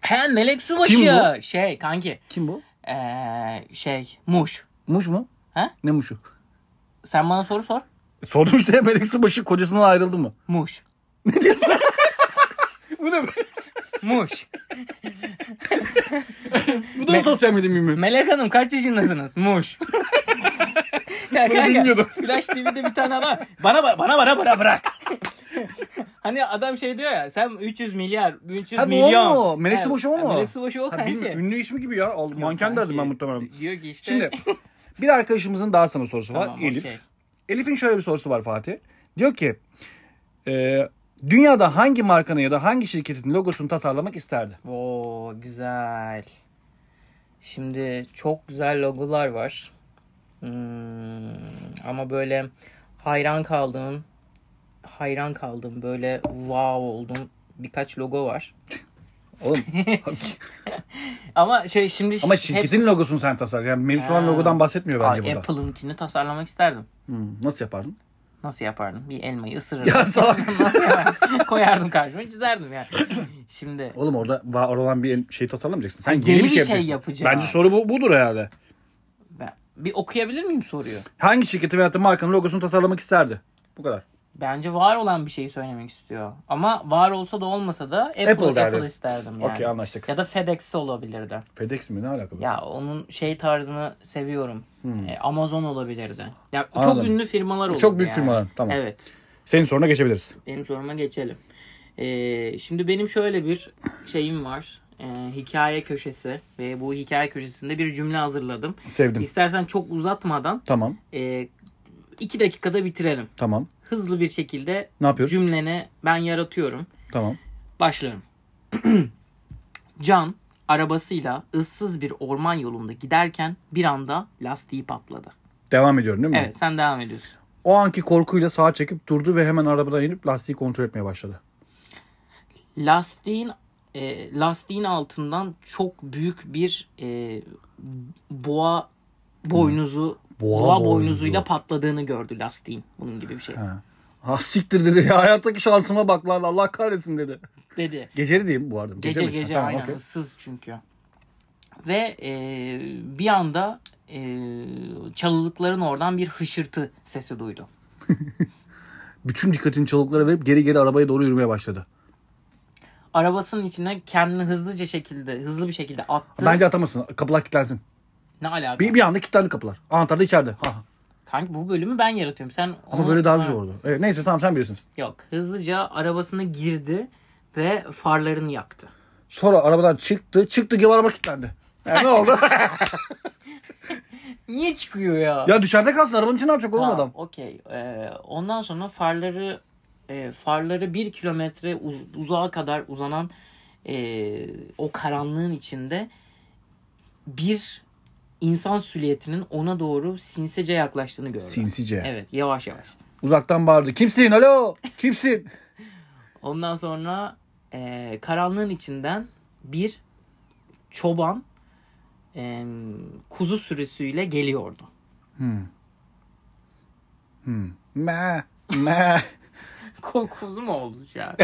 Speaker 2: He Melek Subaşı.
Speaker 3: Kim
Speaker 2: Şey kanki.
Speaker 3: Kim bu?
Speaker 2: Ee, şey Muş.
Speaker 3: Muş mu?
Speaker 2: He?
Speaker 3: Ne Muş'u? E,
Speaker 2: Sen bana soru sor.
Speaker 3: Sordum işte Melek Subaşı kocasından ayrıldı mı?
Speaker 2: Muş.
Speaker 3: Ne diyorsun? bu ne? be?
Speaker 2: Muş.
Speaker 3: Bu da mı sosyal medya mimi?
Speaker 2: Melek Hanım kaç yaşındasınız? Muş. ya kanka,
Speaker 3: bilmiyordum.
Speaker 2: Flash TV'de bir tane adam bana ba- bana bana bana bırak. hani adam şey diyor ya sen 300 milyar 300
Speaker 3: Ha, bu o
Speaker 2: milyon.
Speaker 3: mu? Melek
Speaker 2: Ha,
Speaker 3: Subaşı o mu?
Speaker 2: Melek Subaşı o
Speaker 3: Ha, bilmiyorum.
Speaker 2: kanki.
Speaker 3: Ünlü ismi gibi ya. Al- Manken derdim ben
Speaker 2: Kanki.
Speaker 3: muhtemelen.
Speaker 2: Diyor ki işte.
Speaker 3: Şimdi bir arkadaşımızın daha sana sorusu var.
Speaker 2: Tamam,
Speaker 3: Elif.
Speaker 2: okey.
Speaker 3: Elif'in şöyle bir sorusu var Fatih. Diyor ki e, dünyada hangi markanın ya da hangi şirketin logosunu tasarlamak isterdi?
Speaker 2: Oo güzel. Şimdi çok güzel logolar var. Hmm, ama böyle hayran kaldığım, hayran kaldığım böyle wow oldum birkaç logo var.
Speaker 3: Oğlum
Speaker 2: Ama şey şimdi
Speaker 3: ama
Speaker 2: hepsi-
Speaker 3: şirketin logosunu sen tasar. Yani mevzu olan
Speaker 2: Ha.
Speaker 3: logodan bahsetmiyor
Speaker 2: Aa,
Speaker 3: bence burada.
Speaker 2: Apple'ınkini tasarlamak isterdim.
Speaker 3: Hmm, nasıl yapardın?
Speaker 2: Nasıl yapardım? Bir elmayı ısırırdım.
Speaker 3: Ya salak.
Speaker 2: Nasıl yapardım? Koyardım karşıma çizerdim yani. Şimdi
Speaker 3: Oğlum orada va- oradan bir el- şey tasarlamayacaksın. Sen
Speaker 2: Ha,
Speaker 3: yeni, bir şey, yapacaksın.
Speaker 2: yapacağım.
Speaker 3: Bence soru bu, budur herhalde.
Speaker 2: ben, bir okuyabilir miyim soruyu?
Speaker 3: Hangi şirketin veyahut da markanın logosunu tasarlamak isterdi? Bu kadar.
Speaker 2: Bence var olan bir şeyi söylemek istiyor. Ama var olsa da olmasa da Apple,
Speaker 3: Apple
Speaker 2: Apple,
Speaker 3: derdi.
Speaker 2: isterdim yani.
Speaker 3: Okey, anlaştık.
Speaker 2: Ya da FedEx olabilirdi.
Speaker 3: FedEx mi? Ne alaka? bu?
Speaker 2: Ya onun şey tarzını seviyorum. E, Amazon olabilirdi. Ya
Speaker 3: Hmm. Anladım.
Speaker 2: çok ünlü firmalar olurdu.
Speaker 3: Çok büyük
Speaker 2: yani.
Speaker 3: firmalar. Tamam.
Speaker 2: Evet.
Speaker 3: Senin soruna geçebiliriz.
Speaker 2: Benim soruma geçelim. Ee, şimdi benim şöyle bir şeyim var. Ee, hikaye köşesi ve bu hikaye köşesinde bir cümle hazırladım.
Speaker 3: Sevdim.
Speaker 2: İstersen çok uzatmadan
Speaker 3: Tamam.
Speaker 2: e, iki dakikada bitirelim.
Speaker 3: Tamam.
Speaker 2: Hızlı bir şekilde
Speaker 3: Ne yapıyoruz?
Speaker 2: cümleni ben yaratıyorum.
Speaker 3: tamam.
Speaker 2: Başlıyorum. Can arabasıyla ıssız bir orman yolunda giderken bir anda lastiği patladı.
Speaker 3: Devam ediyorum değil mi?
Speaker 2: Evet sen devam ediyorsun.
Speaker 3: O anki korkuyla sağa çekip durdu ve hemen arabadan inip lastiği kontrol etmeye başladı.
Speaker 2: Lastiğin e, lastiğin altından çok büyük bir e, boğa boynuzu
Speaker 3: Hmm. Boğa
Speaker 2: boğa,
Speaker 3: boynuzu.
Speaker 2: boynuzuyla patladığını gördü lastiğin. Bunun gibi bir şey.
Speaker 3: Ha. Ah siktir dedi ya hayattaki şansıma bak lan Allah kahretsin dedi.
Speaker 2: Dedi.
Speaker 3: Geceli diyeyim bu arada.
Speaker 2: Gece
Speaker 3: mi?
Speaker 2: gece,
Speaker 3: Ha, tamam,
Speaker 2: aynen
Speaker 3: okey.
Speaker 2: ıssız çünkü. Ve e, bir anda e, çalılıkların oradan bir hışırtı sesi duydu.
Speaker 3: Bütün dikkatini çalıklara verip geri geri arabaya doğru yürümeye başladı.
Speaker 2: Arabasının içine kendini hızlıca şekilde, hızlı bir şekilde attı.
Speaker 3: Bence atamasın. Kapılar kilitlensin.
Speaker 2: ne alaka?
Speaker 3: Bir, bir anda kilitlendi kapılar. Anahtar da içeride. Ha.
Speaker 2: Kanki bu bölümü ben yaratıyorum. Sen
Speaker 3: Ama
Speaker 2: onu-
Speaker 3: böyle daha güzel
Speaker 2: Ha,
Speaker 3: oldu. Evet, neyse tamam sen bilirsin.
Speaker 2: Yok. Hızlıca arabasına girdi ve farlarını yaktı.
Speaker 3: Sonra arabadan çıktı. Çıktı gibi araba kilitlendi. Ya ne oldu?
Speaker 2: Niye çıkıyor ya?
Speaker 3: ya dışarıda kalsın arabanın içinde ne yapacak oğlum
Speaker 2: Tamam,
Speaker 3: adam?
Speaker 2: Okey. Ee, ondan sonra farları e, farları bir kilometre uz- uzağa kadar uzanan e, o karanlığın içinde bir insan silüetinin ona doğru sinsice yaklaştığını gördü.
Speaker 3: Sinsice.
Speaker 2: Evet yavaş yavaş.
Speaker 3: Uzaktan bağırdı. Kimsin? Alo. Kimsin?
Speaker 2: Ondan sonra e, karanlığın içinden bir çoban e, kuzu sürüsüyle geliyordu.
Speaker 3: Me. Me.
Speaker 2: Ko- kuzu mu oldu ya?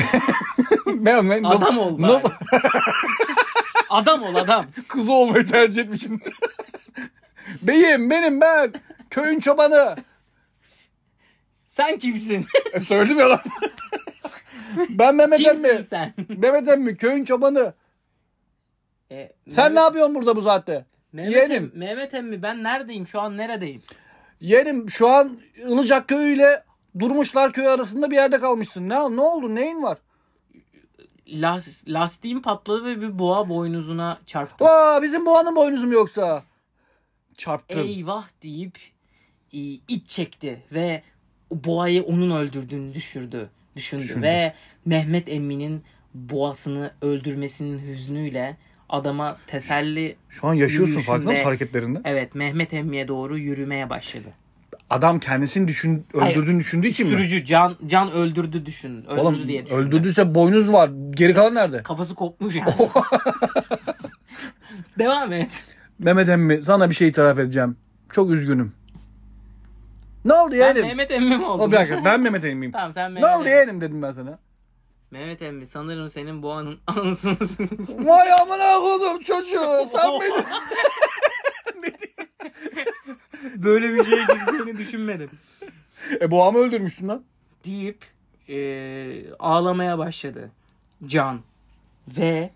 Speaker 3: Ben, ben
Speaker 2: Adam ol bari.
Speaker 3: Nasıl,
Speaker 2: adam ol adam.
Speaker 3: kuzu olmayı tercih etmişim. Beyim benim ben. Köyün çobanı.
Speaker 2: Sen kimsin?
Speaker 3: E, söyledim ya lan. ben Mehmet
Speaker 2: kimsin
Speaker 3: emmi.
Speaker 2: sen?
Speaker 3: Mehmet emmi köyün çobanı.
Speaker 2: E,
Speaker 3: Sen ne yapıyorsun burada bu saatte?
Speaker 2: Mehmet
Speaker 3: Yeğenim.
Speaker 2: Emmi- Mehmet emmi ben neredeyim şu an neredeyim?
Speaker 3: Yerim şu an Ilıcak köyü ile Durmuşlar köyü arasında bir yerde kalmışsın. Ne, ne oldu? Neyin var?
Speaker 2: Las, lastiğim patladı ve bir boğa boynuzuna çarptı.
Speaker 3: Aa bizim boğanın boynuzu mu yoksa? Çarptın.
Speaker 2: Eyvah deyip e, iç çekti ve o boğayı onun öldürdüğünü düşürdü. Düşündü,
Speaker 3: Düşündü.
Speaker 2: ve Mehmet Emmi'nin boğasını öldürmesinin hüznüyle adama teselli
Speaker 3: Şu an yaşıyorsun
Speaker 2: Yürüyüşünde-
Speaker 3: farkında mısın hareketlerinde?
Speaker 2: evet Mehmet Emmi'ye doğru yürümeye başladı.
Speaker 3: Adam kendisini düşün,
Speaker 2: Hayır.
Speaker 3: öldürdüğünü düşündüğü için mi?
Speaker 2: Sürücü can can öldürdü düşün. Öldürdü
Speaker 3: Oğlum
Speaker 2: diye düşündü.
Speaker 3: öldürdüyse boynuz var. Geri kalan nerede?
Speaker 2: Kafası kopmuş yani. Devam et.
Speaker 3: Mehmet emmi sana bir şey itiraf edeceğim. Çok üzgünüm. Ne oldu
Speaker 2: Ben
Speaker 3: yeğenim?
Speaker 2: Mehmet Emmi mi oldum?
Speaker 3: O bir dakika ben Mehmet emmiyim.
Speaker 2: tamam sen Mehmet
Speaker 3: ne oldu
Speaker 2: Emmi.
Speaker 3: yeğenim dedim ben sana.
Speaker 2: Mehmet Emmi sanırım senin boğanın anısını
Speaker 3: Vay amına kodum çocuğu sen beni.
Speaker 2: Böyle bir şeye gireceğini düşünmedim.
Speaker 3: E boğamı öldürmüşsün lan.
Speaker 2: Deyip eee, ağlamaya başladı. Can ve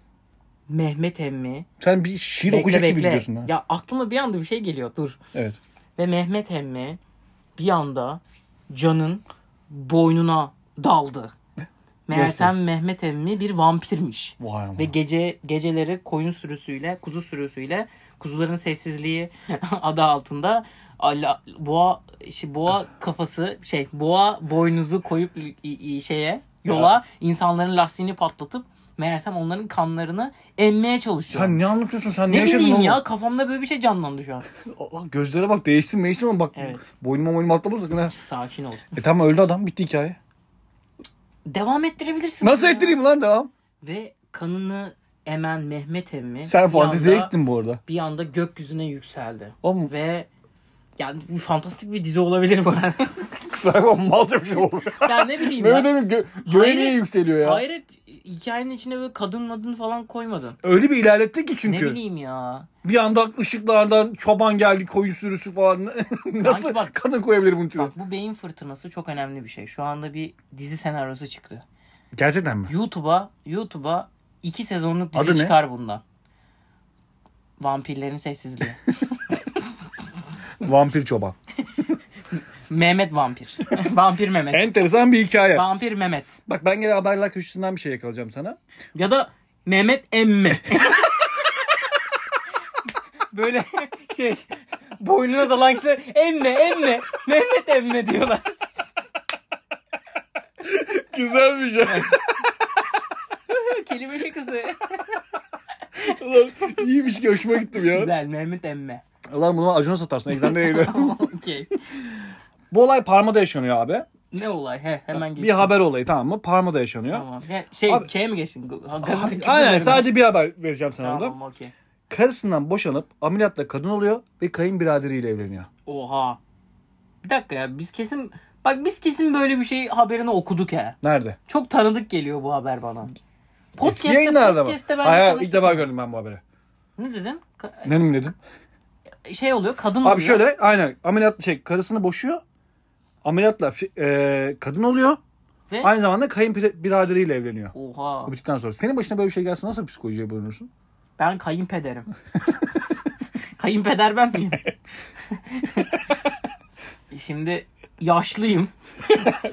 Speaker 2: Mehmet Emmi.
Speaker 3: Sen bir şiir
Speaker 2: Bekle,
Speaker 3: okuyacak gibi
Speaker 2: bekle.
Speaker 3: gidiyorsun ha.
Speaker 2: Ya aklıma bir anda bir şey geliyor dur.
Speaker 3: Evet.
Speaker 2: Ve Mehmet Emmi bir anda Can'ın boynuna daldı. Meğersem Mehmet Emmi bir vampirmiş.
Speaker 3: Vay amına.
Speaker 2: Ve gece geceleri koyun sürüsüyle, kuzu sürüsüyle, kuzuların sessizliği adı altında ala- boğa işte boğa kafası şey boğa boynuzu koyup i- i- şeye yola insanların lastiğini patlatıp meğersem onların kanlarını emmeye çalışıyor.
Speaker 3: Sen ne anlatıyorsun sen ne,
Speaker 2: ne
Speaker 3: yaşadın
Speaker 2: bileyim
Speaker 3: oğlum?
Speaker 2: ya kafamda böyle bir şey canlandı şu an.
Speaker 3: Allah gözlere bak değişsin değişsin ama bak
Speaker 2: Evet.
Speaker 3: boynuma boynuma atlama sakın ha.
Speaker 2: Sakin ol.
Speaker 3: E tamam öldü adam bitti hikaye.
Speaker 2: Devam ettirebilirsin.
Speaker 3: Nasıl
Speaker 2: bunu ya.
Speaker 3: ettireyim lan devam?
Speaker 2: Ve kanını emen Mehmet emmi
Speaker 3: Sen
Speaker 2: bir
Speaker 3: fanteziye
Speaker 2: anda-
Speaker 3: gittin bu arada.
Speaker 2: bir anda gökyüzüne yükseldi.
Speaker 3: Oğlum
Speaker 2: Ve yani bu fantastik bir dizi olabilir bu. arada.
Speaker 3: kusura bakma malca bir şey oluyor.
Speaker 2: ya ne bileyim
Speaker 3: Mehmet
Speaker 2: ya.
Speaker 3: Emin gö göğe niye
Speaker 2: Hayret-
Speaker 3: yükseliyor ya?
Speaker 2: Hayret hikayenin içine böyle kadın adını falan koymadın.
Speaker 3: Öyle bir ilerletti ki çünkü.
Speaker 2: Ne bileyim ya.
Speaker 3: Bir anda ışıklardan çoban geldi koyu sürüsü falan. Nasıl
Speaker 2: bak-
Speaker 3: kadın koyabilir bunun türü?
Speaker 2: Bak bu beyin fırtınası çok önemli bir şey. Şu anda bir dizi senaryosu çıktı.
Speaker 3: Gerçekten mi?
Speaker 2: YouTube'a YouTube'a iki sezonluk dizi
Speaker 3: Adı ne?
Speaker 2: çıkar bundan. Vampirlerin sessizliği.
Speaker 3: Vampir çoban.
Speaker 2: Mehmet vampir. vampir Mehmet.
Speaker 3: Enteresan bir hikaye.
Speaker 2: vampir Mehmet.
Speaker 3: Bak ben gene haberler köşesinden bir şey yakalayacağım sana.
Speaker 2: Ya da Mehmet emmi. Böyle şey boynuna dalan kişiler emme emme Mehmet emme diyorlar.
Speaker 3: Güzel bir şey.
Speaker 2: Kelime şakası.
Speaker 3: Ulan iyiymiş ki hoşuma gittim ya.
Speaker 2: Güzel Mehmet emme.
Speaker 3: Ulan bunu acına satarsın. Egzende yayılıyor.
Speaker 2: Okey.
Speaker 3: Bu olay Parma'da yaşanıyor abi.
Speaker 2: Ne olay? He, hemen geç.
Speaker 3: Bir haber olayı tamam mı? Parma'da yaşanıyor.
Speaker 2: Tamam. Ya, şey
Speaker 3: Abi-
Speaker 2: K'ye mi geçtin? Ga-
Speaker 3: Ha-
Speaker 2: gazete-
Speaker 3: Aynen sadece bir haber vereceğim sana
Speaker 2: Tamam
Speaker 3: orada.
Speaker 2: okey.
Speaker 3: Karısından boşanıp ameliyatla kadın oluyor ve kayınbiraderiyle evleniyor.
Speaker 2: Oha. Bir dakika ya biz kesin bak biz kesin böyle bir şey haberini okuduk ya.
Speaker 3: Nerede?
Speaker 2: Çok tanıdık geliyor bu haber bana.
Speaker 3: Eski yayınlarda mı?
Speaker 2: podcast'te ben
Speaker 3: Hayır hayır, ilk
Speaker 2: konuştum.
Speaker 3: defa gördüm ben bu haberi.
Speaker 2: Ne dedin? Ka-
Speaker 3: Ne mi dedim?
Speaker 2: şey oluyor kadın oluyor.
Speaker 3: Abi şöyle aynen ameliyat şey karısını boşuyor. Ameliyatla fi- e, kadın oluyor.
Speaker 2: Ve-
Speaker 3: Aynı zamanda kayınbiraderiyle evleniyor.
Speaker 2: Oha.
Speaker 3: Bu bittikten sonra. Senin başına böyle bir şey gelse nasıl psikolojiye bulunursun?
Speaker 2: Ben kayınpederim. Kayınpeder ben miyim? Şimdi yaşlıyım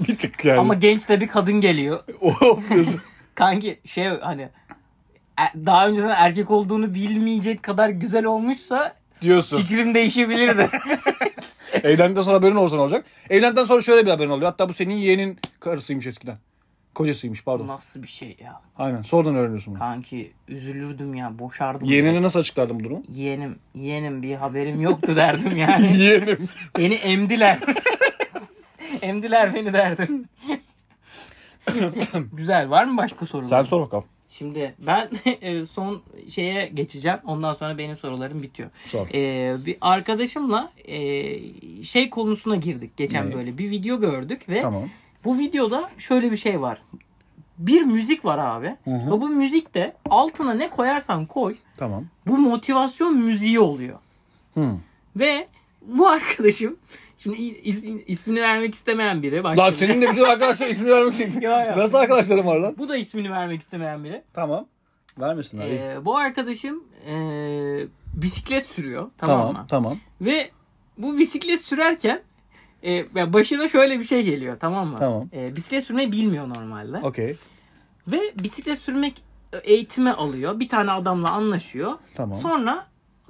Speaker 3: bir tık yani.
Speaker 2: ama genç de bir kadın geliyor.
Speaker 3: of diyorsun.
Speaker 2: Kanki şey hani e- daha önceden erkek olduğunu bilmeyecek kadar güzel olmuşsa
Speaker 3: diyorsun.
Speaker 2: fikrim değişebilirdi.
Speaker 3: Evlendikten sonra haberin olsa ne olacak? Evlendikten sonra şöyle bir haberin oluyor. Hatta bu senin yeğenin karısıymış eskiden. Kocasıymış
Speaker 2: Bu
Speaker 3: pardon.
Speaker 2: nasıl bir şey ya?
Speaker 3: Aynen. Sonradan öğreniyorsun bunu.
Speaker 2: Kanki üzülürdüm ya boşardım.
Speaker 3: Yeğenine
Speaker 2: ya.
Speaker 3: nasıl açıklardın bu durumu?
Speaker 2: Yeğenim, yeğenim bir haberim yoktu derdim yani.
Speaker 3: Yeğenim.
Speaker 2: Beni emdiler. emdiler beni derdim. Güzel. Var mı başka soru?
Speaker 3: Sen sor bakalım.
Speaker 2: Şimdi ben e, son şeye geçeceğim. Ondan sonra benim sorularım bitiyor.
Speaker 3: Sor.
Speaker 2: E, bir arkadaşımla e, şey konusuna girdik geçen
Speaker 3: Ne?
Speaker 2: böyle. Bir video gördük ve
Speaker 3: Tamam.
Speaker 2: bu videoda şöyle bir şey var. Bir müzik var abi.
Speaker 3: Hı hı.
Speaker 2: Ve bu müzik de altına ne koyarsan koy
Speaker 3: Tamam.
Speaker 2: bu motivasyon müziği oluyor.
Speaker 3: Hı.
Speaker 2: Ve bu arkadaşım Şimdi is- ismini vermek istemeyen biri. Başka
Speaker 3: Lan
Speaker 2: biri.
Speaker 3: senin de bütün arkadaşlar ismini vermek istedin.
Speaker 4: Ya, ya.
Speaker 3: Nasıl arkadaşlarım var lan?
Speaker 4: Bu da ismini vermek istemeyen biri.
Speaker 3: Tamam. Vermiyorsun abi.
Speaker 2: Ee, bu arkadaşım ee, bisiklet sürüyor. Tamam,
Speaker 3: tamam,
Speaker 2: mı?
Speaker 3: tamam.
Speaker 2: Ve bu bisiklet sürerken ee, ya başına şöyle bir şey geliyor tamam mı?
Speaker 3: Tamam.
Speaker 2: Ee, bisiklet sürmeyi bilmiyor normalde.
Speaker 3: Okey.
Speaker 2: Ve bisiklet sürmek eğitimi alıyor. Bir tane adamla anlaşıyor.
Speaker 3: Tamam.
Speaker 2: Sonra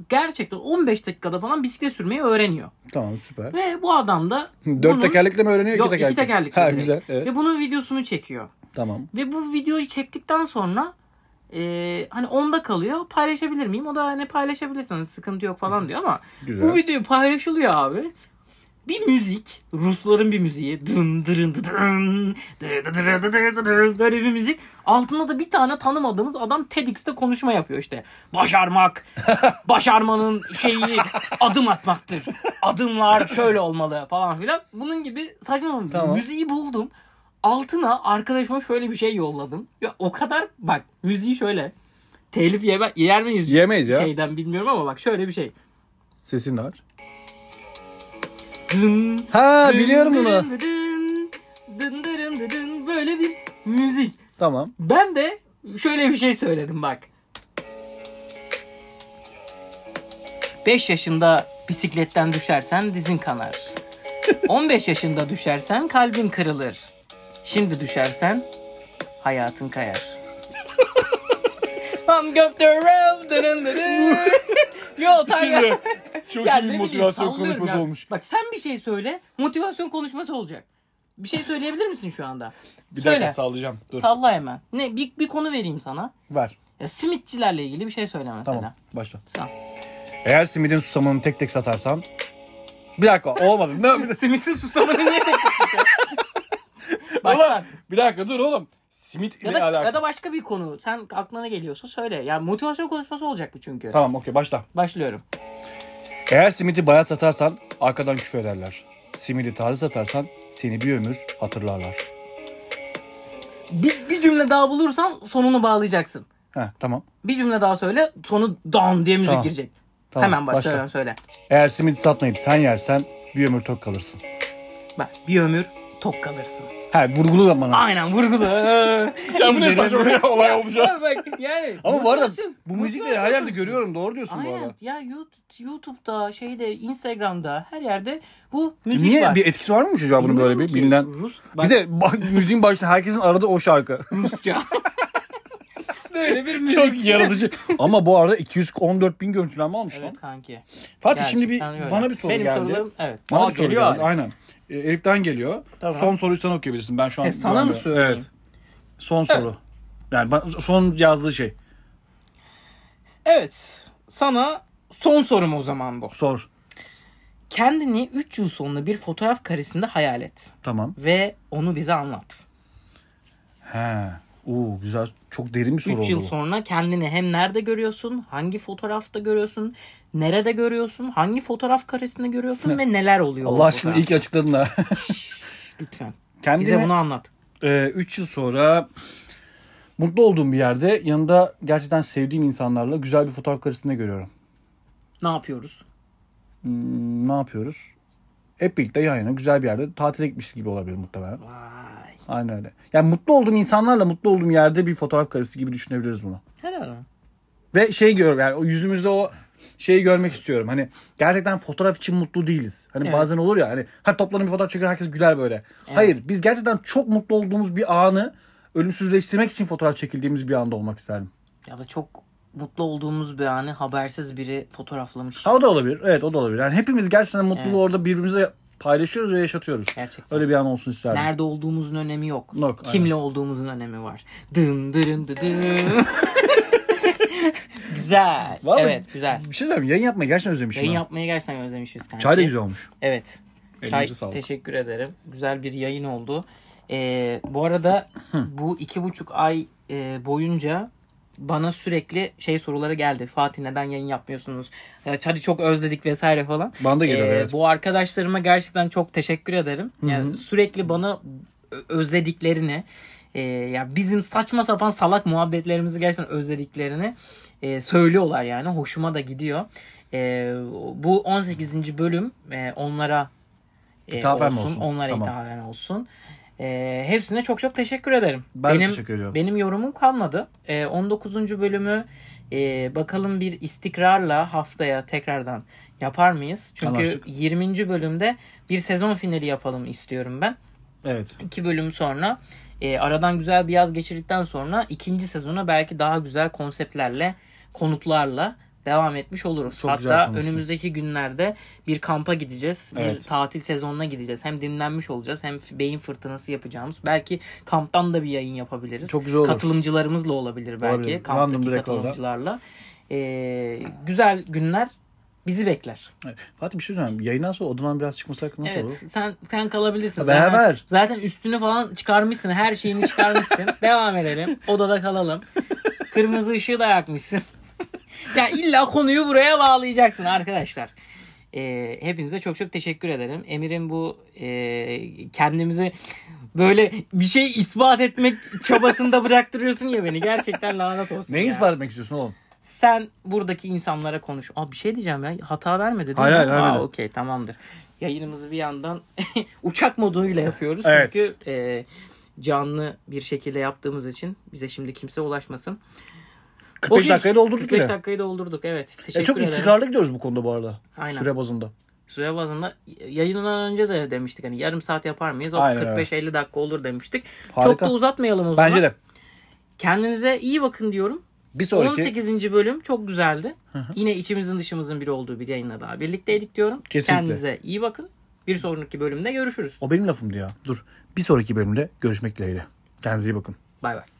Speaker 2: gerçekten 15 dakikada falan bisiklet sürmeyi öğreniyor.
Speaker 3: Tamam süper.
Speaker 2: Ve bu adam da
Speaker 3: Dört
Speaker 2: bunun-
Speaker 3: tekerlekle mi öğreniyor?
Speaker 2: Yok,
Speaker 3: iki
Speaker 2: iki
Speaker 3: tekerlekle.
Speaker 2: tekerlekli
Speaker 3: Ha
Speaker 2: direkt.
Speaker 3: güzel. Evet.
Speaker 2: Ve bunun videosunu çekiyor.
Speaker 3: Tamam.
Speaker 2: Ve bu videoyu çektikten sonra e, hani onda kalıyor. Paylaşabilir miyim? O da hani paylaşabilirsiniz sıkıntı yok falan diyor ama
Speaker 3: Güzel.
Speaker 2: bu videoyu paylaşılıyor abi. Bir müzik, Rusların bir müziği. Dın dırın dı dırın, dı dı dırı dı dırı dı dırı, böyle bir müzik. Altında da bir tane tanımadığımız adam TEDx'te konuşma yapıyor işte. Başarmak, başarmanın şeyi adım atmaktır. Adımlar şöyle olmalı falan filan. Bunun gibi saçma sapan bir
Speaker 3: Tamam.
Speaker 2: Müziği buldum. Altına arkadaşıma şöyle bir şey yolladım. Ya o kadar bak müziği şöyle. Telif yeme, yer miyiz?
Speaker 3: Yemeyiz ya.
Speaker 2: Şeyden bilmiyorum ama bak şöyle bir şey.
Speaker 3: Sesin var.
Speaker 2: Dın,
Speaker 3: Ha
Speaker 2: dın,
Speaker 3: biliyorum
Speaker 2: dın,
Speaker 3: bunu.
Speaker 2: dın, dın, dın, dın, dın, dın, Böyle bir müzik.
Speaker 3: Tamam.
Speaker 2: Ben de şöyle bir şey söyledim bak. 5 yaşında bisikletten düşersen dizin kanar. 15 yaşında düşersen kalbin kırılır. Şimdi düşersen hayatın kayar. I'm up the road. dırın dırın. Yo, Tanya.
Speaker 3: Çok
Speaker 2: Ya ne bileyim, sallıyorum ya. Bak sen bir şey söyle. Motivasyon konuşması olacak. Bir şey söyleyebilir misin şu anda?
Speaker 3: Bir
Speaker 2: söyle.
Speaker 3: dakika sallayacağım. Dur.
Speaker 2: Salla hemen. Ne bir, bir konu vereyim sana.
Speaker 3: Ver.
Speaker 2: Ya simitçilerle ilgili bir şey söyle mesela.
Speaker 3: Tamam. Başla.
Speaker 2: Sağ.
Speaker 3: Eğer simidin susamını tek tek satarsan bir dakika olmadı. Ne, bir, dakika,
Speaker 2: Simitin susamını niye tek
Speaker 3: Ulan,
Speaker 2: Başla.
Speaker 3: bir dakika dur oğlum. Simit ile
Speaker 2: Ya da,
Speaker 3: alakalı.
Speaker 2: ya da başka bir konu. Sen aklına ne geliyorsa söyle. Ya motivasyon konuşması olacak bu çünkü.
Speaker 3: Tamam okey başla.
Speaker 2: Başlıyorum.
Speaker 3: Eğer simidi bayat satarsan arkadan küfür ederler. Simidi taze satarsan seni bir ömür hatırlarlar.
Speaker 2: Bir, bir cümle daha bulursan sonunu bağlayacaksın.
Speaker 3: Heh, tamam.
Speaker 2: Bir cümle daha söyle. Sonu dan diye müzik
Speaker 3: Tamam.
Speaker 2: girecek.
Speaker 3: Tamam,
Speaker 2: Hemen başla.
Speaker 3: başla.
Speaker 2: hemen Söyle.
Speaker 3: Eğer simidi satmayıp sen yersen bir ömür tok kalırsın.
Speaker 2: Bak bir ömür tok kalırsın.
Speaker 3: Ha vurgulu da bana.
Speaker 2: Aynen vurgulu. ya
Speaker 3: olay olacak.
Speaker 2: Bak yani.
Speaker 3: Ama bu arada
Speaker 2: motivasyon-
Speaker 3: bu müzik de
Speaker 2: motivasyon
Speaker 3: her yerde
Speaker 2: konuşması.
Speaker 3: görüyorum. Doğru diyorsun bu
Speaker 2: Aynen.
Speaker 3: arada.
Speaker 2: Ya YouTube- YouTube'da, şeyde, Instagram'da her yerde bu müzik
Speaker 3: Niye
Speaker 2: var.
Speaker 3: bir etkisi var mı acaba bunun böyle
Speaker 2: Bilmiyorum
Speaker 3: bir
Speaker 2: ki.
Speaker 3: bilinen?
Speaker 2: Rus
Speaker 3: Bir de bak, müziğin başında herkesin aradığı o şarkı.
Speaker 2: Rusça. Böyle bir müzik.
Speaker 3: Çok yaratıcı. Ama bu arada 214 bin görüntülenme almış lan.
Speaker 2: Evet kanki.
Speaker 3: Fatih şimdi bir
Speaker 2: Gerçekten öyle.
Speaker 3: bana bir soru
Speaker 2: Benim
Speaker 3: geldi.
Speaker 2: sorularım- evet.
Speaker 3: Bana
Speaker 2: Aa,
Speaker 3: bir soru
Speaker 2: geliyor
Speaker 3: geldi.
Speaker 2: abi.
Speaker 3: Aynen. E, Elif'ten geliyor.
Speaker 2: Tamam.
Speaker 3: Son soruyu sen okuyabilirsin. Ben şu an
Speaker 2: E, sana
Speaker 3: ben-
Speaker 2: mı söyleyeyim?
Speaker 3: Evet. Son soru. Yani ben- son yazdığı şey.
Speaker 2: Evet. Sana son sorum o zaman bu.
Speaker 3: Sor.
Speaker 2: Kendini 3 yıl sonra bir fotoğraf karesinde hayal et.
Speaker 3: Tamam.
Speaker 2: Ve onu bize anlat.
Speaker 3: He. Oo güzel. Çok derin bir soru
Speaker 2: 3
Speaker 3: oldu.
Speaker 2: yıl
Speaker 3: bu.
Speaker 2: sonra kendini hem nerede görüyorsun, hangi fotoğrafta görüyorsun, nerede görüyorsun, hangi fotoğraf karesinde görüyorsun ve neler oluyor.
Speaker 3: Allah
Speaker 2: o
Speaker 3: aşkına
Speaker 2: fotoğraf?
Speaker 3: ilk açıkladın ha.
Speaker 2: Lütfen. Bize bunu
Speaker 3: Kendimi
Speaker 2: anlat.
Speaker 3: 3 Ee, yıl sonra mutlu olduğum bir yerde yanında gerçekten sevdiğim insanlarla güzel bir fotoğraf karesinde görüyorum.
Speaker 2: Ne yapıyoruz?
Speaker 3: Hmm, ne yapıyoruz? Hep birlikte yan yana güzel bir yerde tatile gitmişiz gibi olabilir muhtemelen.
Speaker 2: Vay.
Speaker 3: Aynen öyle. Yani mutlu olduğum insanlarla mutlu olduğum yerde bir fotoğraf karesi gibi düşünebiliriz bunu.
Speaker 2: Helal.
Speaker 3: Ve şey görüyorum yani o yüzümüzde o şeyi görmek istiyorum. Hani gerçekten fotoğraf için mutlu değiliz. Hani
Speaker 2: Evet.
Speaker 3: bazen olur ya hani ha toplanın bir fotoğraf çekiyor herkes güler böyle. Hayır biz gerçekten çok mutlu olduğumuz bir anı ölümsüzleştirmek için fotoğraf çekildiğimiz bir anda olmak isterdim.
Speaker 2: Ya da çok mutlu olduğumuz bir anı habersiz biri fotoğraflamış.
Speaker 3: Ha o da olabilir. Evet o da olabilir. Yani hepimiz gerçekten mutluluğu
Speaker 2: Evet.
Speaker 3: orada birbirimize paylaşıyoruz ve yaşatıyoruz.
Speaker 2: Gerçekten.
Speaker 3: Öyle bir an olsun isterdim.
Speaker 2: Nerede olduğumuzun önemi yok.
Speaker 3: Yok,
Speaker 2: Kimle olduğumuzun önemi var. Dın dırın dı dın. güzel.
Speaker 3: Vallahi-
Speaker 2: Evet güzel.
Speaker 3: Bir şey söyleyeyim mi? yayın yapmayı gerçekten özlemişim.
Speaker 2: Yayın
Speaker 3: ben.
Speaker 2: yapmayı gerçekten özlemişiz kanka.
Speaker 3: Çay da güzel olmuş.
Speaker 2: Evet. Çay,
Speaker 3: Elinize sağlık.
Speaker 2: teşekkür ederim. Güzel bir yayın oldu. Ee, bu arada bu iki buçuk ay e, boyunca bana sürekli şey soruları geldi. Fatih neden yayın yapmıyorsunuz? Ya, Hadi çok özledik vesaire falan.
Speaker 3: Bana da geliyor, evet.
Speaker 2: Ee, Bu arkadaşlarıma gerçekten çok teşekkür ederim. Yani sürekli bana ö- özlediklerini e, ya bizim saçma sapan salak muhabbetlerimizi gerçekten özlediklerini e, söylüyorlar yani. Hoşuma da gidiyor. E, bu 18. bölüm e, onlara e,
Speaker 3: İthafen mi
Speaker 2: olsun,
Speaker 3: olsun?
Speaker 2: Onlara
Speaker 3: Tamam.
Speaker 2: ithafen olsun. E, hepsine çok çok teşekkür ederim.
Speaker 3: Ben de
Speaker 2: benim,
Speaker 3: teşekkür ediyorum.
Speaker 2: Benim yorumum kalmadı. E, 19. bölümü e, bakalım bir istikrarla haftaya tekrardan yapar mıyız? Çünkü
Speaker 3: Anlaştık.
Speaker 2: 20. bölümde bir sezon finali yapalım istiyorum ben.
Speaker 3: Evet.
Speaker 2: İki bölüm sonra e, aradan güzel bir yaz geçirdikten sonra ikinci sezona belki daha güzel konseptlerle konuklarla devam etmiş oluruz.
Speaker 3: Çok güzel
Speaker 2: Hatta
Speaker 3: konuştun.
Speaker 2: önümüzdeki günlerde bir kampa gideceğiz.
Speaker 3: Evet.
Speaker 2: Bir tatil sezonuna gideceğiz. Hem dinlenmiş olacağız hem beyin fırtınası yapacağımız. Belki kamptan da bir yayın yapabiliriz.
Speaker 3: Çok güzel olur.
Speaker 2: Katılımcılarımızla olabilir belki.
Speaker 3: Olabilir. Random
Speaker 2: Kamptaki
Speaker 3: bir rekorda.
Speaker 2: katılımcılarla. E, güzel günler bizi bekler.
Speaker 3: Evet. Fatih bir şey söyleyeceğim. Yayından sonra odadan biraz çıkması hakkında nasıl olur?
Speaker 2: Evet sen sen kalabilirsin.
Speaker 3: Ha, beraber.
Speaker 2: Zaten, zaten üstünü falan çıkarmışsın. Her şeyini çıkarmışsın. Devam edelim. Odada kalalım. Kırmızı ışığı da yakmışsın. ya illa konuyu buraya bağlayacaksın arkadaşlar. Ee, hepinize çok çok teşekkür ederim. Emir'in bu e, kendimizi böyle bir şey ispat etmek çabasında bıraktırıyorsun ya beni. Gerçekten lanet olsun.
Speaker 3: Neyi
Speaker 2: ya.
Speaker 3: ispat etmek istiyorsun oğlum?
Speaker 2: Sen buradaki insanlara konuş. Aa bir şey diyeceğim ya. Hata vermedi değil
Speaker 3: Hayır,
Speaker 2: mi?
Speaker 3: hayır, vermedi.
Speaker 2: Aa okey tamamdır. Yayınımızı bir yandan uçak moduyla yapıyoruz.
Speaker 3: Evet.
Speaker 2: Çünkü e, canlı bir şekilde yaptığımız için bize şimdi kimse ulaşmasın.
Speaker 3: 45
Speaker 2: Okey.
Speaker 3: dakikayı doldurduk
Speaker 2: 45
Speaker 3: bile.
Speaker 2: dakikayı doldurduk evet. Teşekkür
Speaker 3: E çok
Speaker 2: ederim.
Speaker 3: istikrarlı gidiyoruz bu konuda bu arada.
Speaker 2: Aynen.
Speaker 3: Süre bazında.
Speaker 2: Süre bazında yayından önce de demiştik hani yarım saat yapar mıyız? O
Speaker 3: Aynen,
Speaker 2: 45-50 dakika olur demiştik. Çok
Speaker 3: Harika.
Speaker 2: da uzatmayalım o zaman.
Speaker 3: Bence de.
Speaker 2: Kendinize iyi bakın diyorum.
Speaker 3: Bir sonraki
Speaker 2: 18. bölüm çok güzeldi. Yine içimizin dışımızın biri olduğu bir yayınla daha birlikteydik diyorum.
Speaker 3: Kesinlikle.
Speaker 2: Kendinize iyi bakın. Bir sonraki bölümde görüşürüz.
Speaker 3: o benim lafımdı ya. Dur. Bir sonraki bölümde görüşmek dileğiyle. Kendinize iyi bakın.
Speaker 2: Bay bay.